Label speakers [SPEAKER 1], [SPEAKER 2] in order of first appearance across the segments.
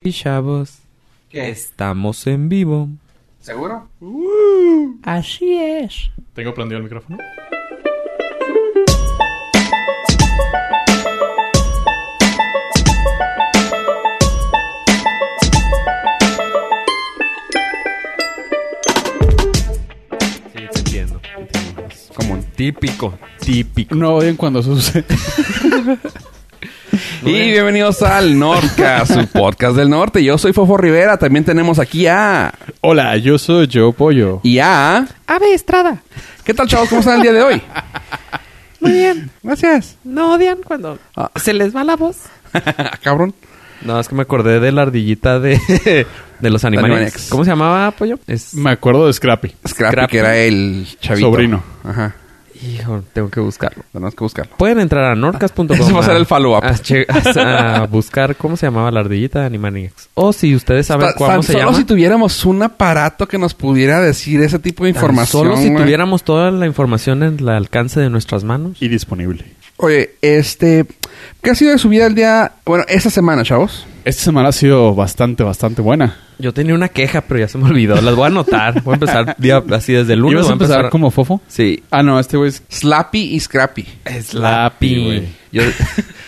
[SPEAKER 1] Y chavos,
[SPEAKER 2] Oh.
[SPEAKER 3] ¿Qué?
[SPEAKER 1] estamos en vivo.
[SPEAKER 3] ¿Seguro?
[SPEAKER 1] Así es.
[SPEAKER 4] Tengo prendido el micrófono.
[SPEAKER 2] Sí, te entiendo. entiendo. Es como un típico, típico.
[SPEAKER 4] No oyen cuando eso sucede.
[SPEAKER 5] Y bienvenidos al Norca, su podcast del norte. Yo soy Fofo Rivera. También tenemos aquí a.
[SPEAKER 4] Hola, yo soy Joe Pollo.
[SPEAKER 5] Y a.
[SPEAKER 1] Ave Estrada.
[SPEAKER 5] ¿Qué tal, chavos? ¿Cómo están el día de hoy?
[SPEAKER 1] Muy bien.
[SPEAKER 5] Gracias.
[SPEAKER 1] ¿No odian cuando se les va la voz?
[SPEAKER 5] Ah. Cabrón.
[SPEAKER 2] No, es que me acordé de la ardillita de, de los
[SPEAKER 5] Animaniacs.
[SPEAKER 2] Animaniacs. ¿Cómo se llamaba, Pollo? Es...
[SPEAKER 4] Me acuerdo de Scrappy.
[SPEAKER 5] Scrappy,
[SPEAKER 2] Scrappy.
[SPEAKER 5] que era el chavito.
[SPEAKER 4] Sobrino.
[SPEAKER 5] Ajá.
[SPEAKER 2] Hijo, tengo que buscarlo.
[SPEAKER 5] Tenemos que buscarlo.
[SPEAKER 2] Pueden entrar a norcas.com.
[SPEAKER 5] Ese va a ser el follow-up.
[SPEAKER 2] A, Ah, che- a- a buscar cómo se llamaba la ardillita de Animaniacs. O si ustedes saben
[SPEAKER 5] Tan-
[SPEAKER 2] cómo
[SPEAKER 5] tan
[SPEAKER 2] se
[SPEAKER 5] solo
[SPEAKER 2] llama.
[SPEAKER 5] si tuviéramos un aparato que nos pudiera decir ese tipo de
[SPEAKER 2] tan
[SPEAKER 5] información.
[SPEAKER 2] Solo si
[SPEAKER 5] güey.
[SPEAKER 2] tuviéramos toda la información en el alcance de nuestras manos.
[SPEAKER 4] Y disponible.
[SPEAKER 5] Oye, este. ¿Qué ha sido de su vida el día. Bueno, esta semana, chavos?
[SPEAKER 4] Esta semana ha sido bastante, bastante buena.
[SPEAKER 2] Yo tenía una queja, pero ya se me olvidó. Las voy a anotar. Voy a empezar día- así desde el lunes.
[SPEAKER 4] ¿Ibas
[SPEAKER 2] voy
[SPEAKER 4] a empezar como Fofo?
[SPEAKER 2] Sí.
[SPEAKER 4] Ah, no, este güey es...
[SPEAKER 5] Slappy y Scrappy.
[SPEAKER 4] Slappy, güey.
[SPEAKER 2] Yo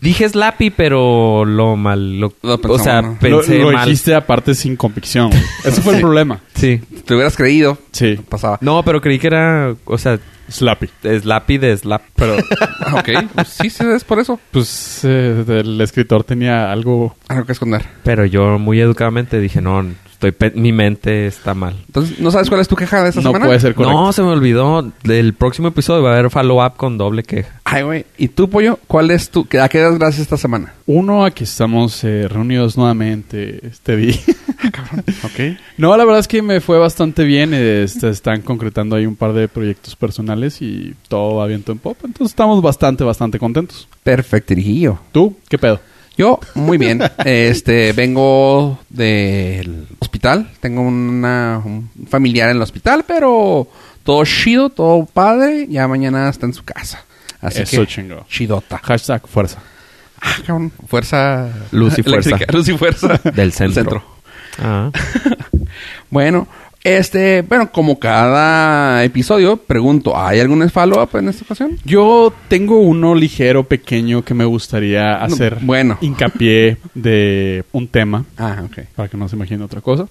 [SPEAKER 2] dije Slappy, pero lo mal. Lo,
[SPEAKER 5] Lo
[SPEAKER 2] o
[SPEAKER 5] pensamos,
[SPEAKER 2] sea,
[SPEAKER 5] ¿no?
[SPEAKER 2] pensé
[SPEAKER 4] lo, lo
[SPEAKER 2] mal.
[SPEAKER 4] dijiste aparte sin convicción. güey. Ese fue el problema.
[SPEAKER 2] Sí.
[SPEAKER 5] Te hubieras creído.
[SPEAKER 4] Sí.
[SPEAKER 5] Pasaba.
[SPEAKER 2] No, pero creí que era. O sea,
[SPEAKER 4] Slappy.
[SPEAKER 2] Slappy de Slap.
[SPEAKER 4] Pero,
[SPEAKER 5] ok. pues sí, sí, es por eso.
[SPEAKER 4] pues, eh, el escritor tenía algo...
[SPEAKER 5] Algo que esconder.
[SPEAKER 2] Pero yo muy educadamente dije, no, estoy pe- mi mente está mal.
[SPEAKER 5] Entonces, ¿no sabes cuál es tu queja de esta
[SPEAKER 4] No
[SPEAKER 5] semana?
[SPEAKER 4] puede ser correcto.
[SPEAKER 2] No, se me olvidó. El próximo episodio va a haber follow-up con doble queja.
[SPEAKER 5] Ay, güey. ¿Y tú, Pollo? ¿Cuál es tu... ¿A qué das gracias esta semana?
[SPEAKER 4] Uno, aquí estamos eh, reunidos nuevamente este día.
[SPEAKER 5] Ok.
[SPEAKER 4] No, la verdad es que me fue bastante bien. eh, se están concretando ahí un par de proyectos personales y todo va viento en pop. Entonces estamos bastante, bastante contentos.
[SPEAKER 5] Perfectirijillo.
[SPEAKER 4] ¿Tú? ¿Qué pedo?
[SPEAKER 5] Yo, muy bien. Este, vengo del hospital. Tengo una, un familiar en el hospital, pero todo chido, todo padre. Ya mañana está en su casa. Así
[SPEAKER 4] Eso
[SPEAKER 5] que,
[SPEAKER 4] chingo.
[SPEAKER 5] chidota.
[SPEAKER 4] Hashtag fuerza.
[SPEAKER 5] Ah, cabrón. Fuerza...
[SPEAKER 2] Luz y fuerza.
[SPEAKER 5] eléctrica. Luz y fuerza.
[SPEAKER 2] Del centro.
[SPEAKER 5] centro.
[SPEAKER 2] Ah.
[SPEAKER 5] Bueno, este... Bueno, como cada episodio, pregunto, ¿hay algún follow-up en esta ocasión?
[SPEAKER 4] Yo tengo uno ligero, pequeño, que me gustaría hacer
[SPEAKER 5] bueno.
[SPEAKER 4] hincapié de un tema.
[SPEAKER 5] Ah, ok.
[SPEAKER 4] para que no se imagine otra cosa.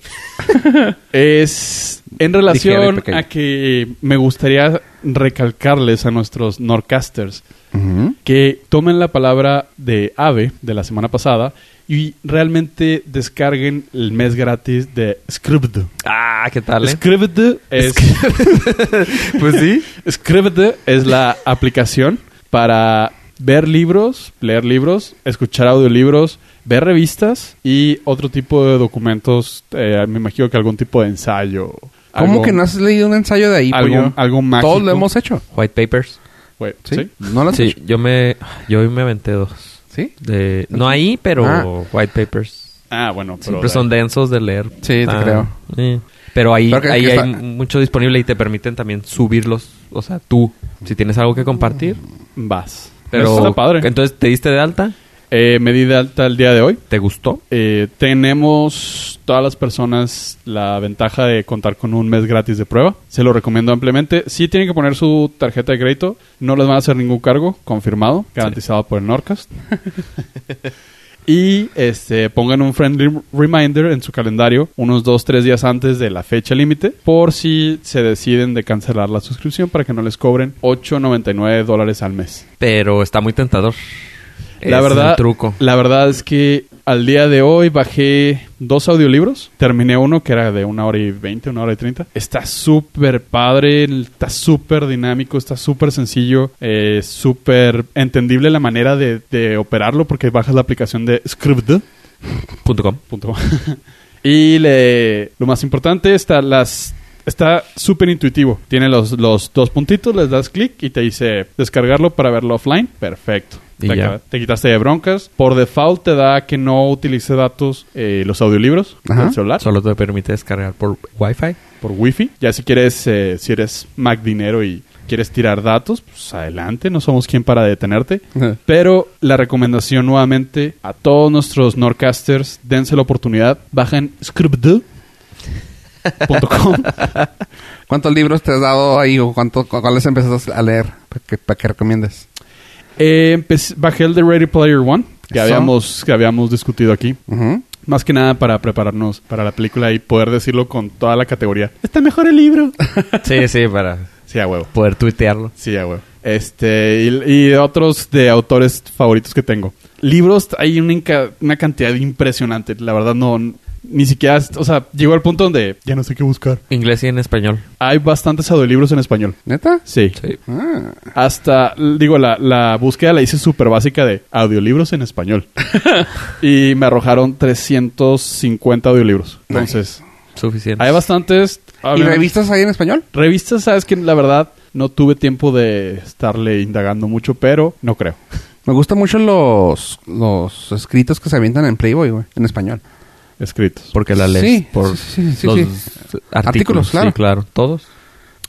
[SPEAKER 4] es en relación
[SPEAKER 5] pequeño.
[SPEAKER 4] a que me gustaría recalcarles a nuestros Norcasters
[SPEAKER 5] Ujú.
[SPEAKER 4] que tomen la palabra de AVE de la semana pasada y realmente descarguen el mes gratis de Scribd.
[SPEAKER 2] Ah, ¿qué tal? eh?
[SPEAKER 4] Scribd es,
[SPEAKER 2] Pues sí.
[SPEAKER 4] Scribd es la aplicación para ver libros, leer libros, escuchar audiolibros, ver revistas y otro tipo de documentos, eh, me imagino que algún tipo de ensayo.
[SPEAKER 5] ¿Cómo
[SPEAKER 4] algo-
[SPEAKER 5] que no has leído un ensayo de ahí,
[SPEAKER 4] algo-
[SPEAKER 5] pollo?
[SPEAKER 4] algo mágico.
[SPEAKER 5] Todos lo hemos hecho.
[SPEAKER 2] White Papers.
[SPEAKER 4] Güey,
[SPEAKER 5] ¿Sí?
[SPEAKER 4] ¿Sí?
[SPEAKER 5] ¿No lo has
[SPEAKER 2] Sí,
[SPEAKER 5] hecho?
[SPEAKER 2] yo me, yo hoy me aventé dos.
[SPEAKER 5] ¿Sí?
[SPEAKER 2] De, no ahí, pero
[SPEAKER 5] Ah.
[SPEAKER 2] white papers.
[SPEAKER 4] Ah, bueno. pero-
[SPEAKER 2] Siempre son densos de leer.
[SPEAKER 5] Sí, te creo.
[SPEAKER 2] eh. Pero ahí,
[SPEAKER 5] Pero que-
[SPEAKER 2] ahí
[SPEAKER 5] que
[SPEAKER 2] hay
[SPEAKER 5] está-
[SPEAKER 2] mucho disponible y te permiten también subirlos. O sea, tú, si tienes algo que compartir.
[SPEAKER 4] Vas.
[SPEAKER 2] Pero
[SPEAKER 4] Eso está padre.
[SPEAKER 2] Entonces, ¿te diste de alta?
[SPEAKER 4] Eh, me di de alta el día de hoy.
[SPEAKER 2] ¿Te gustó?
[SPEAKER 4] Eh, tenemos todas las personas la ventaja de contar con un mes gratis de prueba. Se lo recomiendo ampliamente. Sí tienen que poner su tarjeta de crédito. No les van a hacer ningún cargo. Confirmado. Garantizado por el Norcast. y este, pongan un friendly reminder en su calendario unos 2, 3 días antes de la fecha límite. Por si se deciden de cancelar la suscripción para que no les cobren 8.99 dólares al mes.
[SPEAKER 2] Pero está muy tentador. Ese
[SPEAKER 4] La verdad,
[SPEAKER 2] Es el truco.
[SPEAKER 4] la verdad es que al día de hoy bajé dos audiolibros. Terminé uno que era de una hora y veinte, una hora y treinta. Está súper padre, está súper dinámico, está súper sencillo, eh, súper entendible la manera de, de operarlo porque bajas la aplicación de Scribd.
[SPEAKER 2] Punto com.
[SPEAKER 4] Punto. y le, lo más importante está las está súper intuitivo. Tiene los, los dos puntitos, les das clic y te dice descargarlo para verlo offline. Perfecto.
[SPEAKER 2] Y
[SPEAKER 4] Te,
[SPEAKER 2] ya.
[SPEAKER 4] acaba- te quitaste de broncas. Por default te da que no utilice datos eh, los audiolibros
[SPEAKER 5] Ajá.
[SPEAKER 4] del celular
[SPEAKER 2] Solo te permite descargar por Wi-Fi.
[SPEAKER 4] por wifi. Ya si quieres, eh, si eres Mac dinero y quieres tirar datos, pues adelante, no somos quien para detenerte. Pero la recomendación nuevamente a todos nuestros Norcasters, dense la oportunidad, bajen scribd.com.
[SPEAKER 5] ¿Cuántos libros te has dado ahí o cuánto, cu- cuáles empezaste a leer para que, para que recomiendes?
[SPEAKER 4] Eh, empecé- bajé el de Ready Player One, que
[SPEAKER 5] Eso.
[SPEAKER 4] habíamos, que habíamos discutido aquí.
[SPEAKER 5] Ujú.
[SPEAKER 4] Más que nada para prepararnos para la película y poder decirlo con toda la categoría. Está mejor el libro.
[SPEAKER 2] Sí, sí, para
[SPEAKER 4] sí, a huevo.
[SPEAKER 2] poder tuitearlo.
[SPEAKER 4] Sí, a huevo. Este, y, y otros de autores favoritos que tengo. Libros, hay una, inca- una cantidad impresionante. La verdad, no. Ni siquiera. O sea, llegó al punto donde ya no sé qué buscar.
[SPEAKER 2] Inglés y en español.
[SPEAKER 4] Hay bastantes audiolibros en español.
[SPEAKER 5] ¿Neta?
[SPEAKER 4] Sí.
[SPEAKER 2] Sí.
[SPEAKER 5] Ah.
[SPEAKER 4] Hasta, digo, la, la búsqueda la hice súper básica de audiolibros en español. y me arrojaron 350 audiolibros. Entonces,
[SPEAKER 2] Suficiente.
[SPEAKER 4] hay bastantes.
[SPEAKER 5] ¿Y
[SPEAKER 4] obviamente-
[SPEAKER 5] revistas ahí en español?
[SPEAKER 4] Revistas, sabes que la verdad no tuve tiempo de estarle indagando mucho, pero no creo.
[SPEAKER 5] Me gustan mucho los, los escritos que se avientan en Playboy, güey, en español.
[SPEAKER 4] Escritos.
[SPEAKER 2] Porque la lees.
[SPEAKER 5] Sí,
[SPEAKER 2] por
[SPEAKER 5] sí, sí, sí,
[SPEAKER 2] los
[SPEAKER 5] sí.
[SPEAKER 2] artículos.
[SPEAKER 5] Artículos,
[SPEAKER 2] sí,
[SPEAKER 5] claro.
[SPEAKER 2] claro. Todos.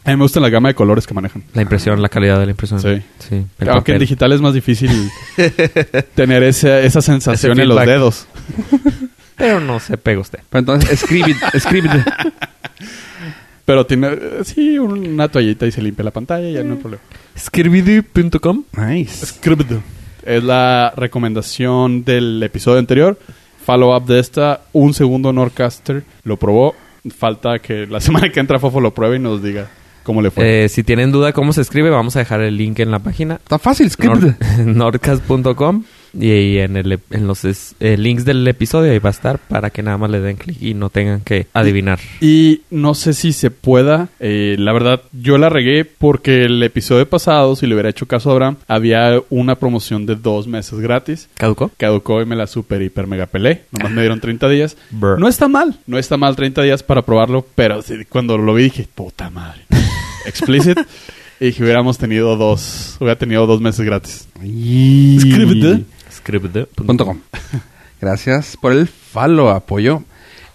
[SPEAKER 4] A mí me gusta la gama de colores que manejan.
[SPEAKER 2] La impresión, la calidad de la impresión.
[SPEAKER 4] Sí. Ah,
[SPEAKER 2] Sí. el
[SPEAKER 4] Aunque en
[SPEAKER 2] papel.
[SPEAKER 4] digital es más difícil tener ese- esa sensación
[SPEAKER 2] Ese
[SPEAKER 4] en los
[SPEAKER 2] feedback.
[SPEAKER 4] dedos.
[SPEAKER 2] Pero no se pega usted.
[SPEAKER 5] Pero entonces, escribid, escribid.
[SPEAKER 4] Pero tiene, eh, sí, una toallita y se limpia la pantalla y ya no hay problema.
[SPEAKER 2] Skirbidu.com.
[SPEAKER 5] Nice.
[SPEAKER 4] Script. Es la recomendación del episodio anterior. Follow up de esta. Un segundo Norcaster lo probó. Falta que la semana que entra Fofo lo pruebe y nos diga cómo le fue.
[SPEAKER 2] Eh, si tienen duda cómo se escribe, vamos a dejar el link en la página.
[SPEAKER 5] Está fácil, scribid.
[SPEAKER 2] Nor- Nordcast.com y ahí en, el, ep- en los es- eh, links del episodio ahí va a estar para que nada más le den clic y no tengan que adivinar.
[SPEAKER 4] Y no sé si se pueda. eh, la verdad, yo la regué porque el episodio pasado, si le hubiera hecho caso a Abraham, había una promoción de dos meses gratis.
[SPEAKER 2] ¿Caducó?
[SPEAKER 4] Caducó y me la super hiper mega pelé. Nomás me dieron 30 días.
[SPEAKER 2] Brr.
[SPEAKER 4] No está mal. No está mal 30 días para probarlo. Pero sí, cuando lo vi dije, puta madre. Explicit. y que hubiéramos tenido dos. Hubiera tenido dos meses gratis.
[SPEAKER 5] ¿Eh?
[SPEAKER 4] Scribd.
[SPEAKER 5] Punto com. Gracias por el follow, apoyo.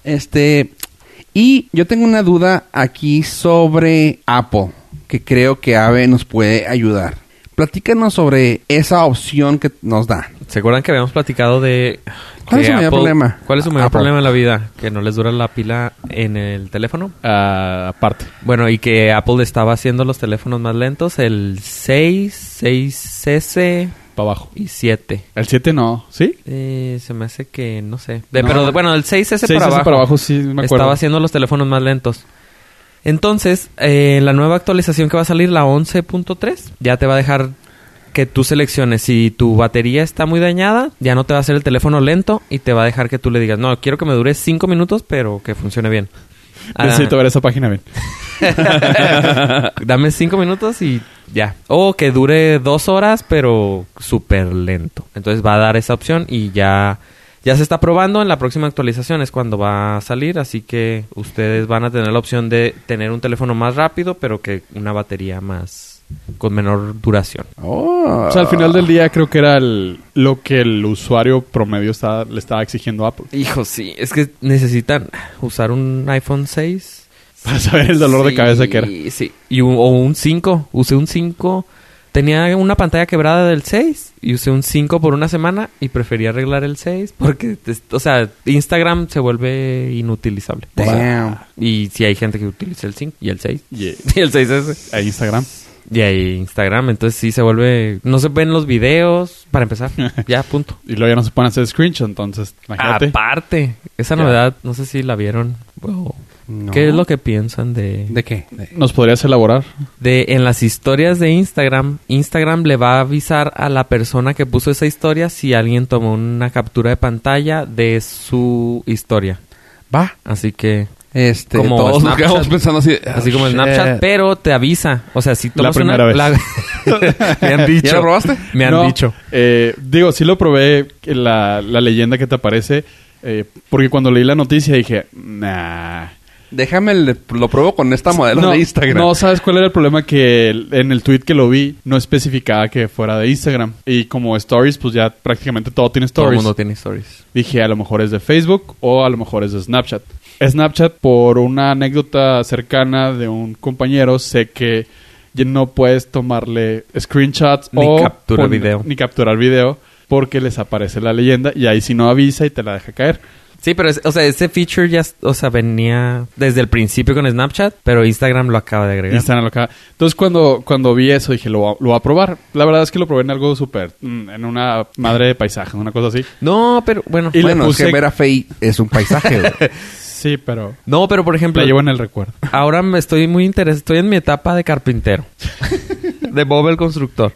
[SPEAKER 5] Este, y yo tengo una duda aquí sobre Apple, que creo que Ave nos puede ayudar. Platícanos sobre esa opción que nos da.
[SPEAKER 2] ¿Se acuerdan que habíamos platicado de...
[SPEAKER 5] ¿Cuál es
[SPEAKER 2] que
[SPEAKER 5] su mayor problema?
[SPEAKER 2] ¿Cuál es su mayor
[SPEAKER 5] Apple.
[SPEAKER 2] problema en la vida? ¿Que no les dura la pila en el teléfono?
[SPEAKER 4] Ah, aparte.
[SPEAKER 2] Bueno, y que Apple estaba haciendo los teléfonos más lentos, el 6, 6S
[SPEAKER 4] Para abajo.
[SPEAKER 2] y 7.
[SPEAKER 4] El 7 no. ¿Sí?
[SPEAKER 2] Eh, se me hace que, no sé. De-
[SPEAKER 5] No.
[SPEAKER 2] Pero de- bueno, el 6S,
[SPEAKER 4] 6S
[SPEAKER 2] para abajo.
[SPEAKER 4] para abajo, sí, me acuerdo.
[SPEAKER 2] Estaba haciendo los teléfonos más lentos. Entonces, eh, la nueva actualización que va a salir, la 11.3, ya te va a dejar que tú selecciones. Si tu batería está muy dañada, ya no te va a hacer el teléfono lento y te va a dejar que tú le digas, no, quiero que me dure 5 minutos, pero que funcione bien. Ah,
[SPEAKER 4] Necesito ver esa página bien.
[SPEAKER 2] Dame cinco minutos y ya. O que dure dos horas, pero súper lento. Entonces va a dar esa opción y ya, ya se está probando. En la próxima actualización es cuando va a salir. Así que ustedes van a tener la opción de tener un teléfono más rápido, pero que una batería más con menor duración.
[SPEAKER 5] Oh.
[SPEAKER 2] Ah.
[SPEAKER 4] O sea, al final del día creo que era el- lo que el usuario promedio estaba- le estaba exigiendo a Apple.
[SPEAKER 2] Hijo, sí. Es que necesitan usar un iPhone 6.
[SPEAKER 4] Para saber el dolor de cabeza que era.
[SPEAKER 2] Sí, sí. Y un- o un 5. Usé un 5. Tenía una pantalla quebrada del 6 y usé un 5 por una semana y preferí arreglar el 6 porque, te- o sea, Instagram se vuelve inutilizable. O sea,
[SPEAKER 5] Damn.
[SPEAKER 2] y si hay gente que utiliza el 5 y el 6.
[SPEAKER 4] Yeah.
[SPEAKER 2] Y el 6S.
[SPEAKER 4] eh, A Instagram.
[SPEAKER 2] Y hay Instagram, entonces sí se vuelve... No se ven los videos para empezar. ya, punto.
[SPEAKER 4] Y luego ya no se pueden hacer screenshot, entonces,
[SPEAKER 2] Ah,
[SPEAKER 4] imagínate.
[SPEAKER 2] Aparte, esa
[SPEAKER 4] Ya.
[SPEAKER 2] novedad, no sé si la vieron. o-
[SPEAKER 5] No.
[SPEAKER 2] ¿Qué es lo que piensan de...
[SPEAKER 5] ¿De qué? De-
[SPEAKER 4] ¿Nos podrías elaborar?
[SPEAKER 2] de en las historias de Instagram, Instagram le va a avisar a la persona que puso esa historia si alguien tomó una captura de pantalla de su historia.
[SPEAKER 5] Va.
[SPEAKER 2] Así que
[SPEAKER 5] Este,
[SPEAKER 2] Como
[SPEAKER 5] todos nos
[SPEAKER 2] Snapchat.
[SPEAKER 5] quedamos pensando así. ah,
[SPEAKER 4] Ah,
[SPEAKER 2] así como
[SPEAKER 5] el
[SPEAKER 2] Snapchat, pero te avisa, o sea, si tomas
[SPEAKER 4] primera
[SPEAKER 2] una
[SPEAKER 4] vez.
[SPEAKER 2] la- me han dicho.
[SPEAKER 5] ¿Ya lo probaste?
[SPEAKER 2] Me han
[SPEAKER 4] No,
[SPEAKER 2] dicho.
[SPEAKER 4] eh, digo, sí lo probé, que la, la leyenda que te aparece, eh, porque cuando leí la noticia dije, nah.
[SPEAKER 5] Déjame, el- lo pruebo con esta modelo
[SPEAKER 4] no,
[SPEAKER 5] de Instagram.
[SPEAKER 4] No, ¿sabes cuál era el problema? Que el- en el tweet que lo vi no especificaba que fuera de Instagram. Y como stories, pues ya prácticamente todo tiene
[SPEAKER 2] Todo el
[SPEAKER 4] stories.
[SPEAKER 2] mundo tiene stories.
[SPEAKER 4] Dije, a lo mejor es de Facebook o a lo mejor es de Snapchat. Snapchat, por una anécdota cercana de un compañero, sé que ya no puedes tomarle screenshots
[SPEAKER 2] Ni
[SPEAKER 4] o
[SPEAKER 2] captura
[SPEAKER 4] pon-
[SPEAKER 2] video.
[SPEAKER 4] Ni capturar video porque les aparece la leyenda y ahí si no avisa y te la deja caer.
[SPEAKER 2] Sí, pero, es- o sea, ese feature ya, o sea, venía desde el principio con Snapchat, pero Instagram lo acaba de agregar.
[SPEAKER 4] Instagram lo acaba- Entonces cuando, cuando vi eso dije, lo, voy a- lo voy a probar. La verdad es que lo probé en algo súper, mm, en una madre de paisaje, una cosa así.
[SPEAKER 2] No, pero, bueno.
[SPEAKER 4] Y le
[SPEAKER 5] bueno, es
[SPEAKER 4] puse-
[SPEAKER 5] que Vera Fey es un paisaje, güey.
[SPEAKER 4] Sí, pero
[SPEAKER 2] No, pero, por ejemplo,
[SPEAKER 4] la llevo en el recuerdo.
[SPEAKER 2] ahora me estoy muy interesado. Estoy en mi etapa de carpintero. de Bob el constructor.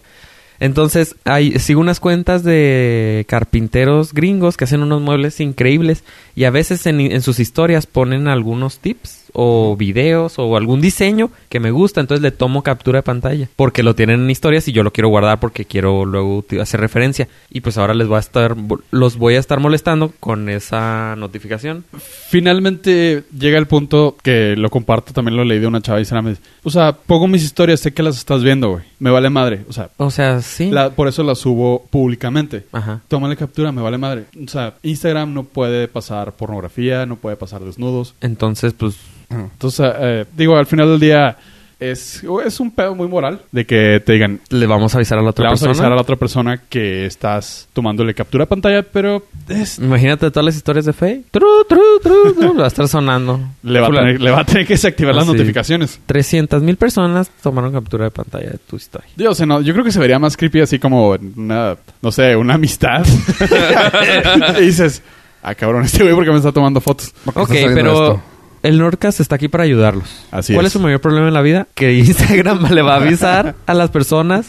[SPEAKER 2] Entonces, hay, sigo unas cuentas de carpinteros gringos que hacen unos muebles increíbles y a veces en, en sus historias ponen algunos tips o videos o algún diseño que me gusta, entonces le tomo captura de pantalla porque lo tienen en historias y yo lo quiero guardar porque quiero luego uti- hacer referencia y pues ahora les voy a estar los voy a estar molestando con esa notificación.
[SPEAKER 4] Finalmente llega el punto que lo comparto, también lo leí de una chava y se me dice, o sea, pongo mis historias, sé que las estás viendo, güey. Me vale madre. O sea,
[SPEAKER 2] O sea, sí.
[SPEAKER 4] la- por eso las subo públicamente.
[SPEAKER 2] Ajá.
[SPEAKER 4] Tómale captura, me vale madre. O sea, Instagram no puede pasar pornografía, no puede pasar desnudos.
[SPEAKER 2] Entonces, pues
[SPEAKER 4] Entonces, eh, digo, al final del día es, es un pedo muy moral de que te digan,
[SPEAKER 2] le vamos a avisar a la
[SPEAKER 4] le
[SPEAKER 2] otra
[SPEAKER 4] vamos a
[SPEAKER 2] persona.
[SPEAKER 4] avisar a la otra persona que estás tomándole captura a pantalla, pero es-
[SPEAKER 2] Imagínate todas las historias de Faye. Tru, tru, tru, tru, va a estar sonando.
[SPEAKER 4] le, va a
[SPEAKER 2] Fulano.
[SPEAKER 4] tener, le va a tener que desactivar las
[SPEAKER 2] Así.
[SPEAKER 4] notificaciones.
[SPEAKER 2] 300.000 personas tomaron captura de pantalla de tu historia.
[SPEAKER 4] Dios, no, yo creo que se vería más creepy así como en una, no sé, una amistad. y dices, ah, cabrón, este güey porque me está tomando fotos.
[SPEAKER 5] ¿Por qué
[SPEAKER 2] Ok,
[SPEAKER 5] estás haciendo
[SPEAKER 2] pero
[SPEAKER 5] esto?
[SPEAKER 2] el Nordcast está aquí para ayudarlos.
[SPEAKER 4] Así
[SPEAKER 2] ¿Cuál
[SPEAKER 4] es.
[SPEAKER 2] es su mayor problema en la vida? Que Instagram le va a avisar a las personas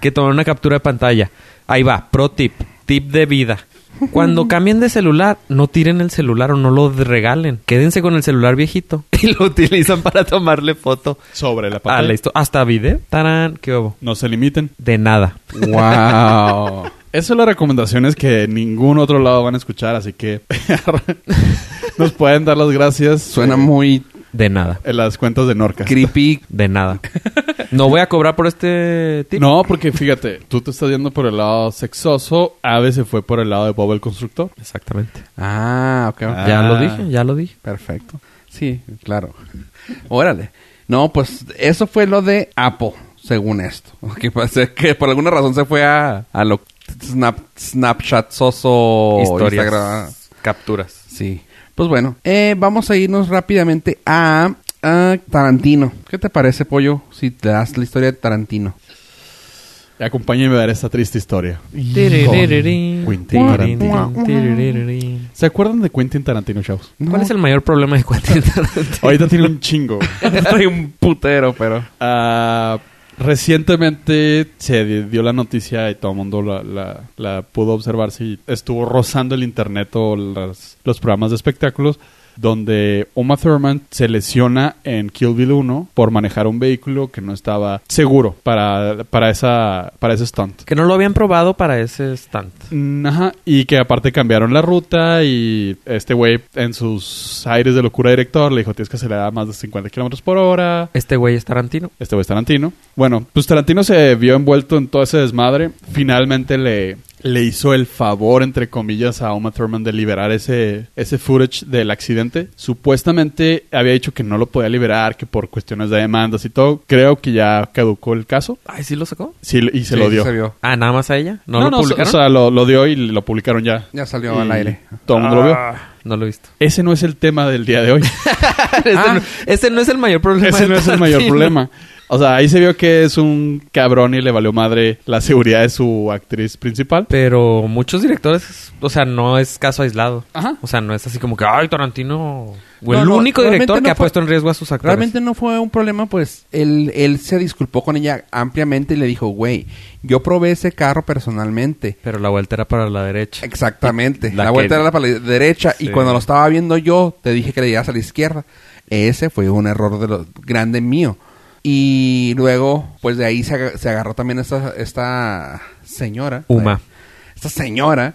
[SPEAKER 2] que tomaron una captura de pantalla. Ahí va, pro tip, tip de vida. Cuando cambien de celular, no tiren el celular o no lo regalen. Quédense con el celular viejito y lo utilizan para tomarle foto
[SPEAKER 4] Sobre
[SPEAKER 2] a
[SPEAKER 4] la
[SPEAKER 2] la
[SPEAKER 4] pantalla.
[SPEAKER 2] histo- Ah, hasta video. Tarán, qué hubo.
[SPEAKER 4] no se limiten.
[SPEAKER 2] De nada.
[SPEAKER 5] Wow.
[SPEAKER 4] Esas son las recomendaciones que ningún otro lado van a escuchar, así que nos pueden dar las gracias.
[SPEAKER 5] Suena muy
[SPEAKER 2] De nada.
[SPEAKER 4] En las cuentas de Norca.
[SPEAKER 5] creepy.
[SPEAKER 2] De nada. No voy a cobrar por este tip.
[SPEAKER 4] No, porque fíjate, tú te estás yendo por el lado sexoso, Ave se fue por el lado de Bob el Constructor.
[SPEAKER 2] Exactamente.
[SPEAKER 5] Ah, ok. ok.
[SPEAKER 4] Ah.
[SPEAKER 2] Ya lo dije, ya lo dije.
[SPEAKER 5] Perfecto. Sí, claro. Órale. No, pues eso fue lo de Apple, según esto. Que, pasa que por alguna razón se fue a, a lo snap, Snapchat, Soso,
[SPEAKER 2] Historias.
[SPEAKER 5] Instagram.
[SPEAKER 2] Capturas.
[SPEAKER 5] Sí. Pues bueno, eh, vamos a irnos rápidamente a, a Tarantino. ¿Qué te parece, Pollo, si te das la historia de Tarantino?
[SPEAKER 4] Acompáñenme a ver esta triste historia.
[SPEAKER 2] Quentin
[SPEAKER 4] Tarantino.
[SPEAKER 2] Tarantino.
[SPEAKER 4] ¿Se acuerdan de Quentin Tarantino, chavos?
[SPEAKER 2] ¿Cuál es el mayor problema de Quentin Tarantino?
[SPEAKER 4] Ahorita tiene un chingo. güey.
[SPEAKER 5] Soy un putero, pero...
[SPEAKER 4] Ah, recientemente se di- dio la noticia y todo el mundo la, la- la pudo observar si estuvo rozando el internet o las- los programas de espectáculos donde Uma Thurman se lesiona en Kill Bill 1 por manejar un vehículo que no estaba seguro para, para, esa, para ese stunt.
[SPEAKER 2] Que no lo habían probado para ese stand.
[SPEAKER 4] Mm, Ajá, y que aparte cambiaron la ruta y este güey en sus aires de locura director le dijo tienes que acelerar a más de 50 kilómetros por hora.
[SPEAKER 2] Este güey es Tarantino.
[SPEAKER 4] Este güey es Tarantino. Bueno, pues Tarantino se vio envuelto en todo ese desmadre. Finalmente le, le hizo el favor, entre comillas, a Uma Thurman de liberar ese, ese footage del accidente. Supuestamente había dicho que no lo podía liberar, que por cuestiones de demandas y todo. Creo que ya caducó el caso.
[SPEAKER 2] Ay, ¿sí lo sacó?
[SPEAKER 4] Sí, y se
[SPEAKER 5] Sí,
[SPEAKER 4] lo
[SPEAKER 5] sí
[SPEAKER 4] dio.
[SPEAKER 5] se vio.
[SPEAKER 2] Ah, nada más a ella. No, lo
[SPEAKER 4] o sea-
[SPEAKER 2] publicaron.
[SPEAKER 4] O sea, lo, lo dio y lo publicaron ya.
[SPEAKER 5] Ya salió al
[SPEAKER 4] Y
[SPEAKER 5] aire.
[SPEAKER 4] Todo el mundo lo vio.
[SPEAKER 5] Ah.
[SPEAKER 2] no lo he visto.
[SPEAKER 4] Ese no es el tema del día de hoy.
[SPEAKER 2] Ese, no, ese no es el mayor problema.
[SPEAKER 4] Ese
[SPEAKER 2] de
[SPEAKER 4] no es el mayor
[SPEAKER 2] Tarantino.
[SPEAKER 4] problema. O sea, ahí se vio que es un cabrón y le valió madre la seguridad de su actriz principal.
[SPEAKER 2] Pero muchos directores, o sea, no es caso aislado.
[SPEAKER 4] Ajá.
[SPEAKER 2] O sea, no es así como que, ay, Tarantino. o el
[SPEAKER 5] No, no,
[SPEAKER 2] único director
[SPEAKER 5] realmente
[SPEAKER 2] que
[SPEAKER 5] no
[SPEAKER 2] ha
[SPEAKER 5] fue-
[SPEAKER 2] puesto en riesgo a sus actores.
[SPEAKER 5] Realmente no fue un problema, pues él, él se disculpó con ella ampliamente y le dijo, güey, yo probé ese carro personalmente.
[SPEAKER 2] Pero la vuelta era para la derecha.
[SPEAKER 5] Exactamente.
[SPEAKER 2] La
[SPEAKER 5] La,
[SPEAKER 2] que-
[SPEAKER 5] vuelta era para la derecha y
[SPEAKER 2] Sí.
[SPEAKER 5] cuando lo estaba viendo yo, te dije que le llegas a la izquierda. Ese fue un error de lo grande mío. Y luego, pues de ahí se, aga- se agarró también esta, esta señora.
[SPEAKER 2] Uma.
[SPEAKER 5] Esta señora.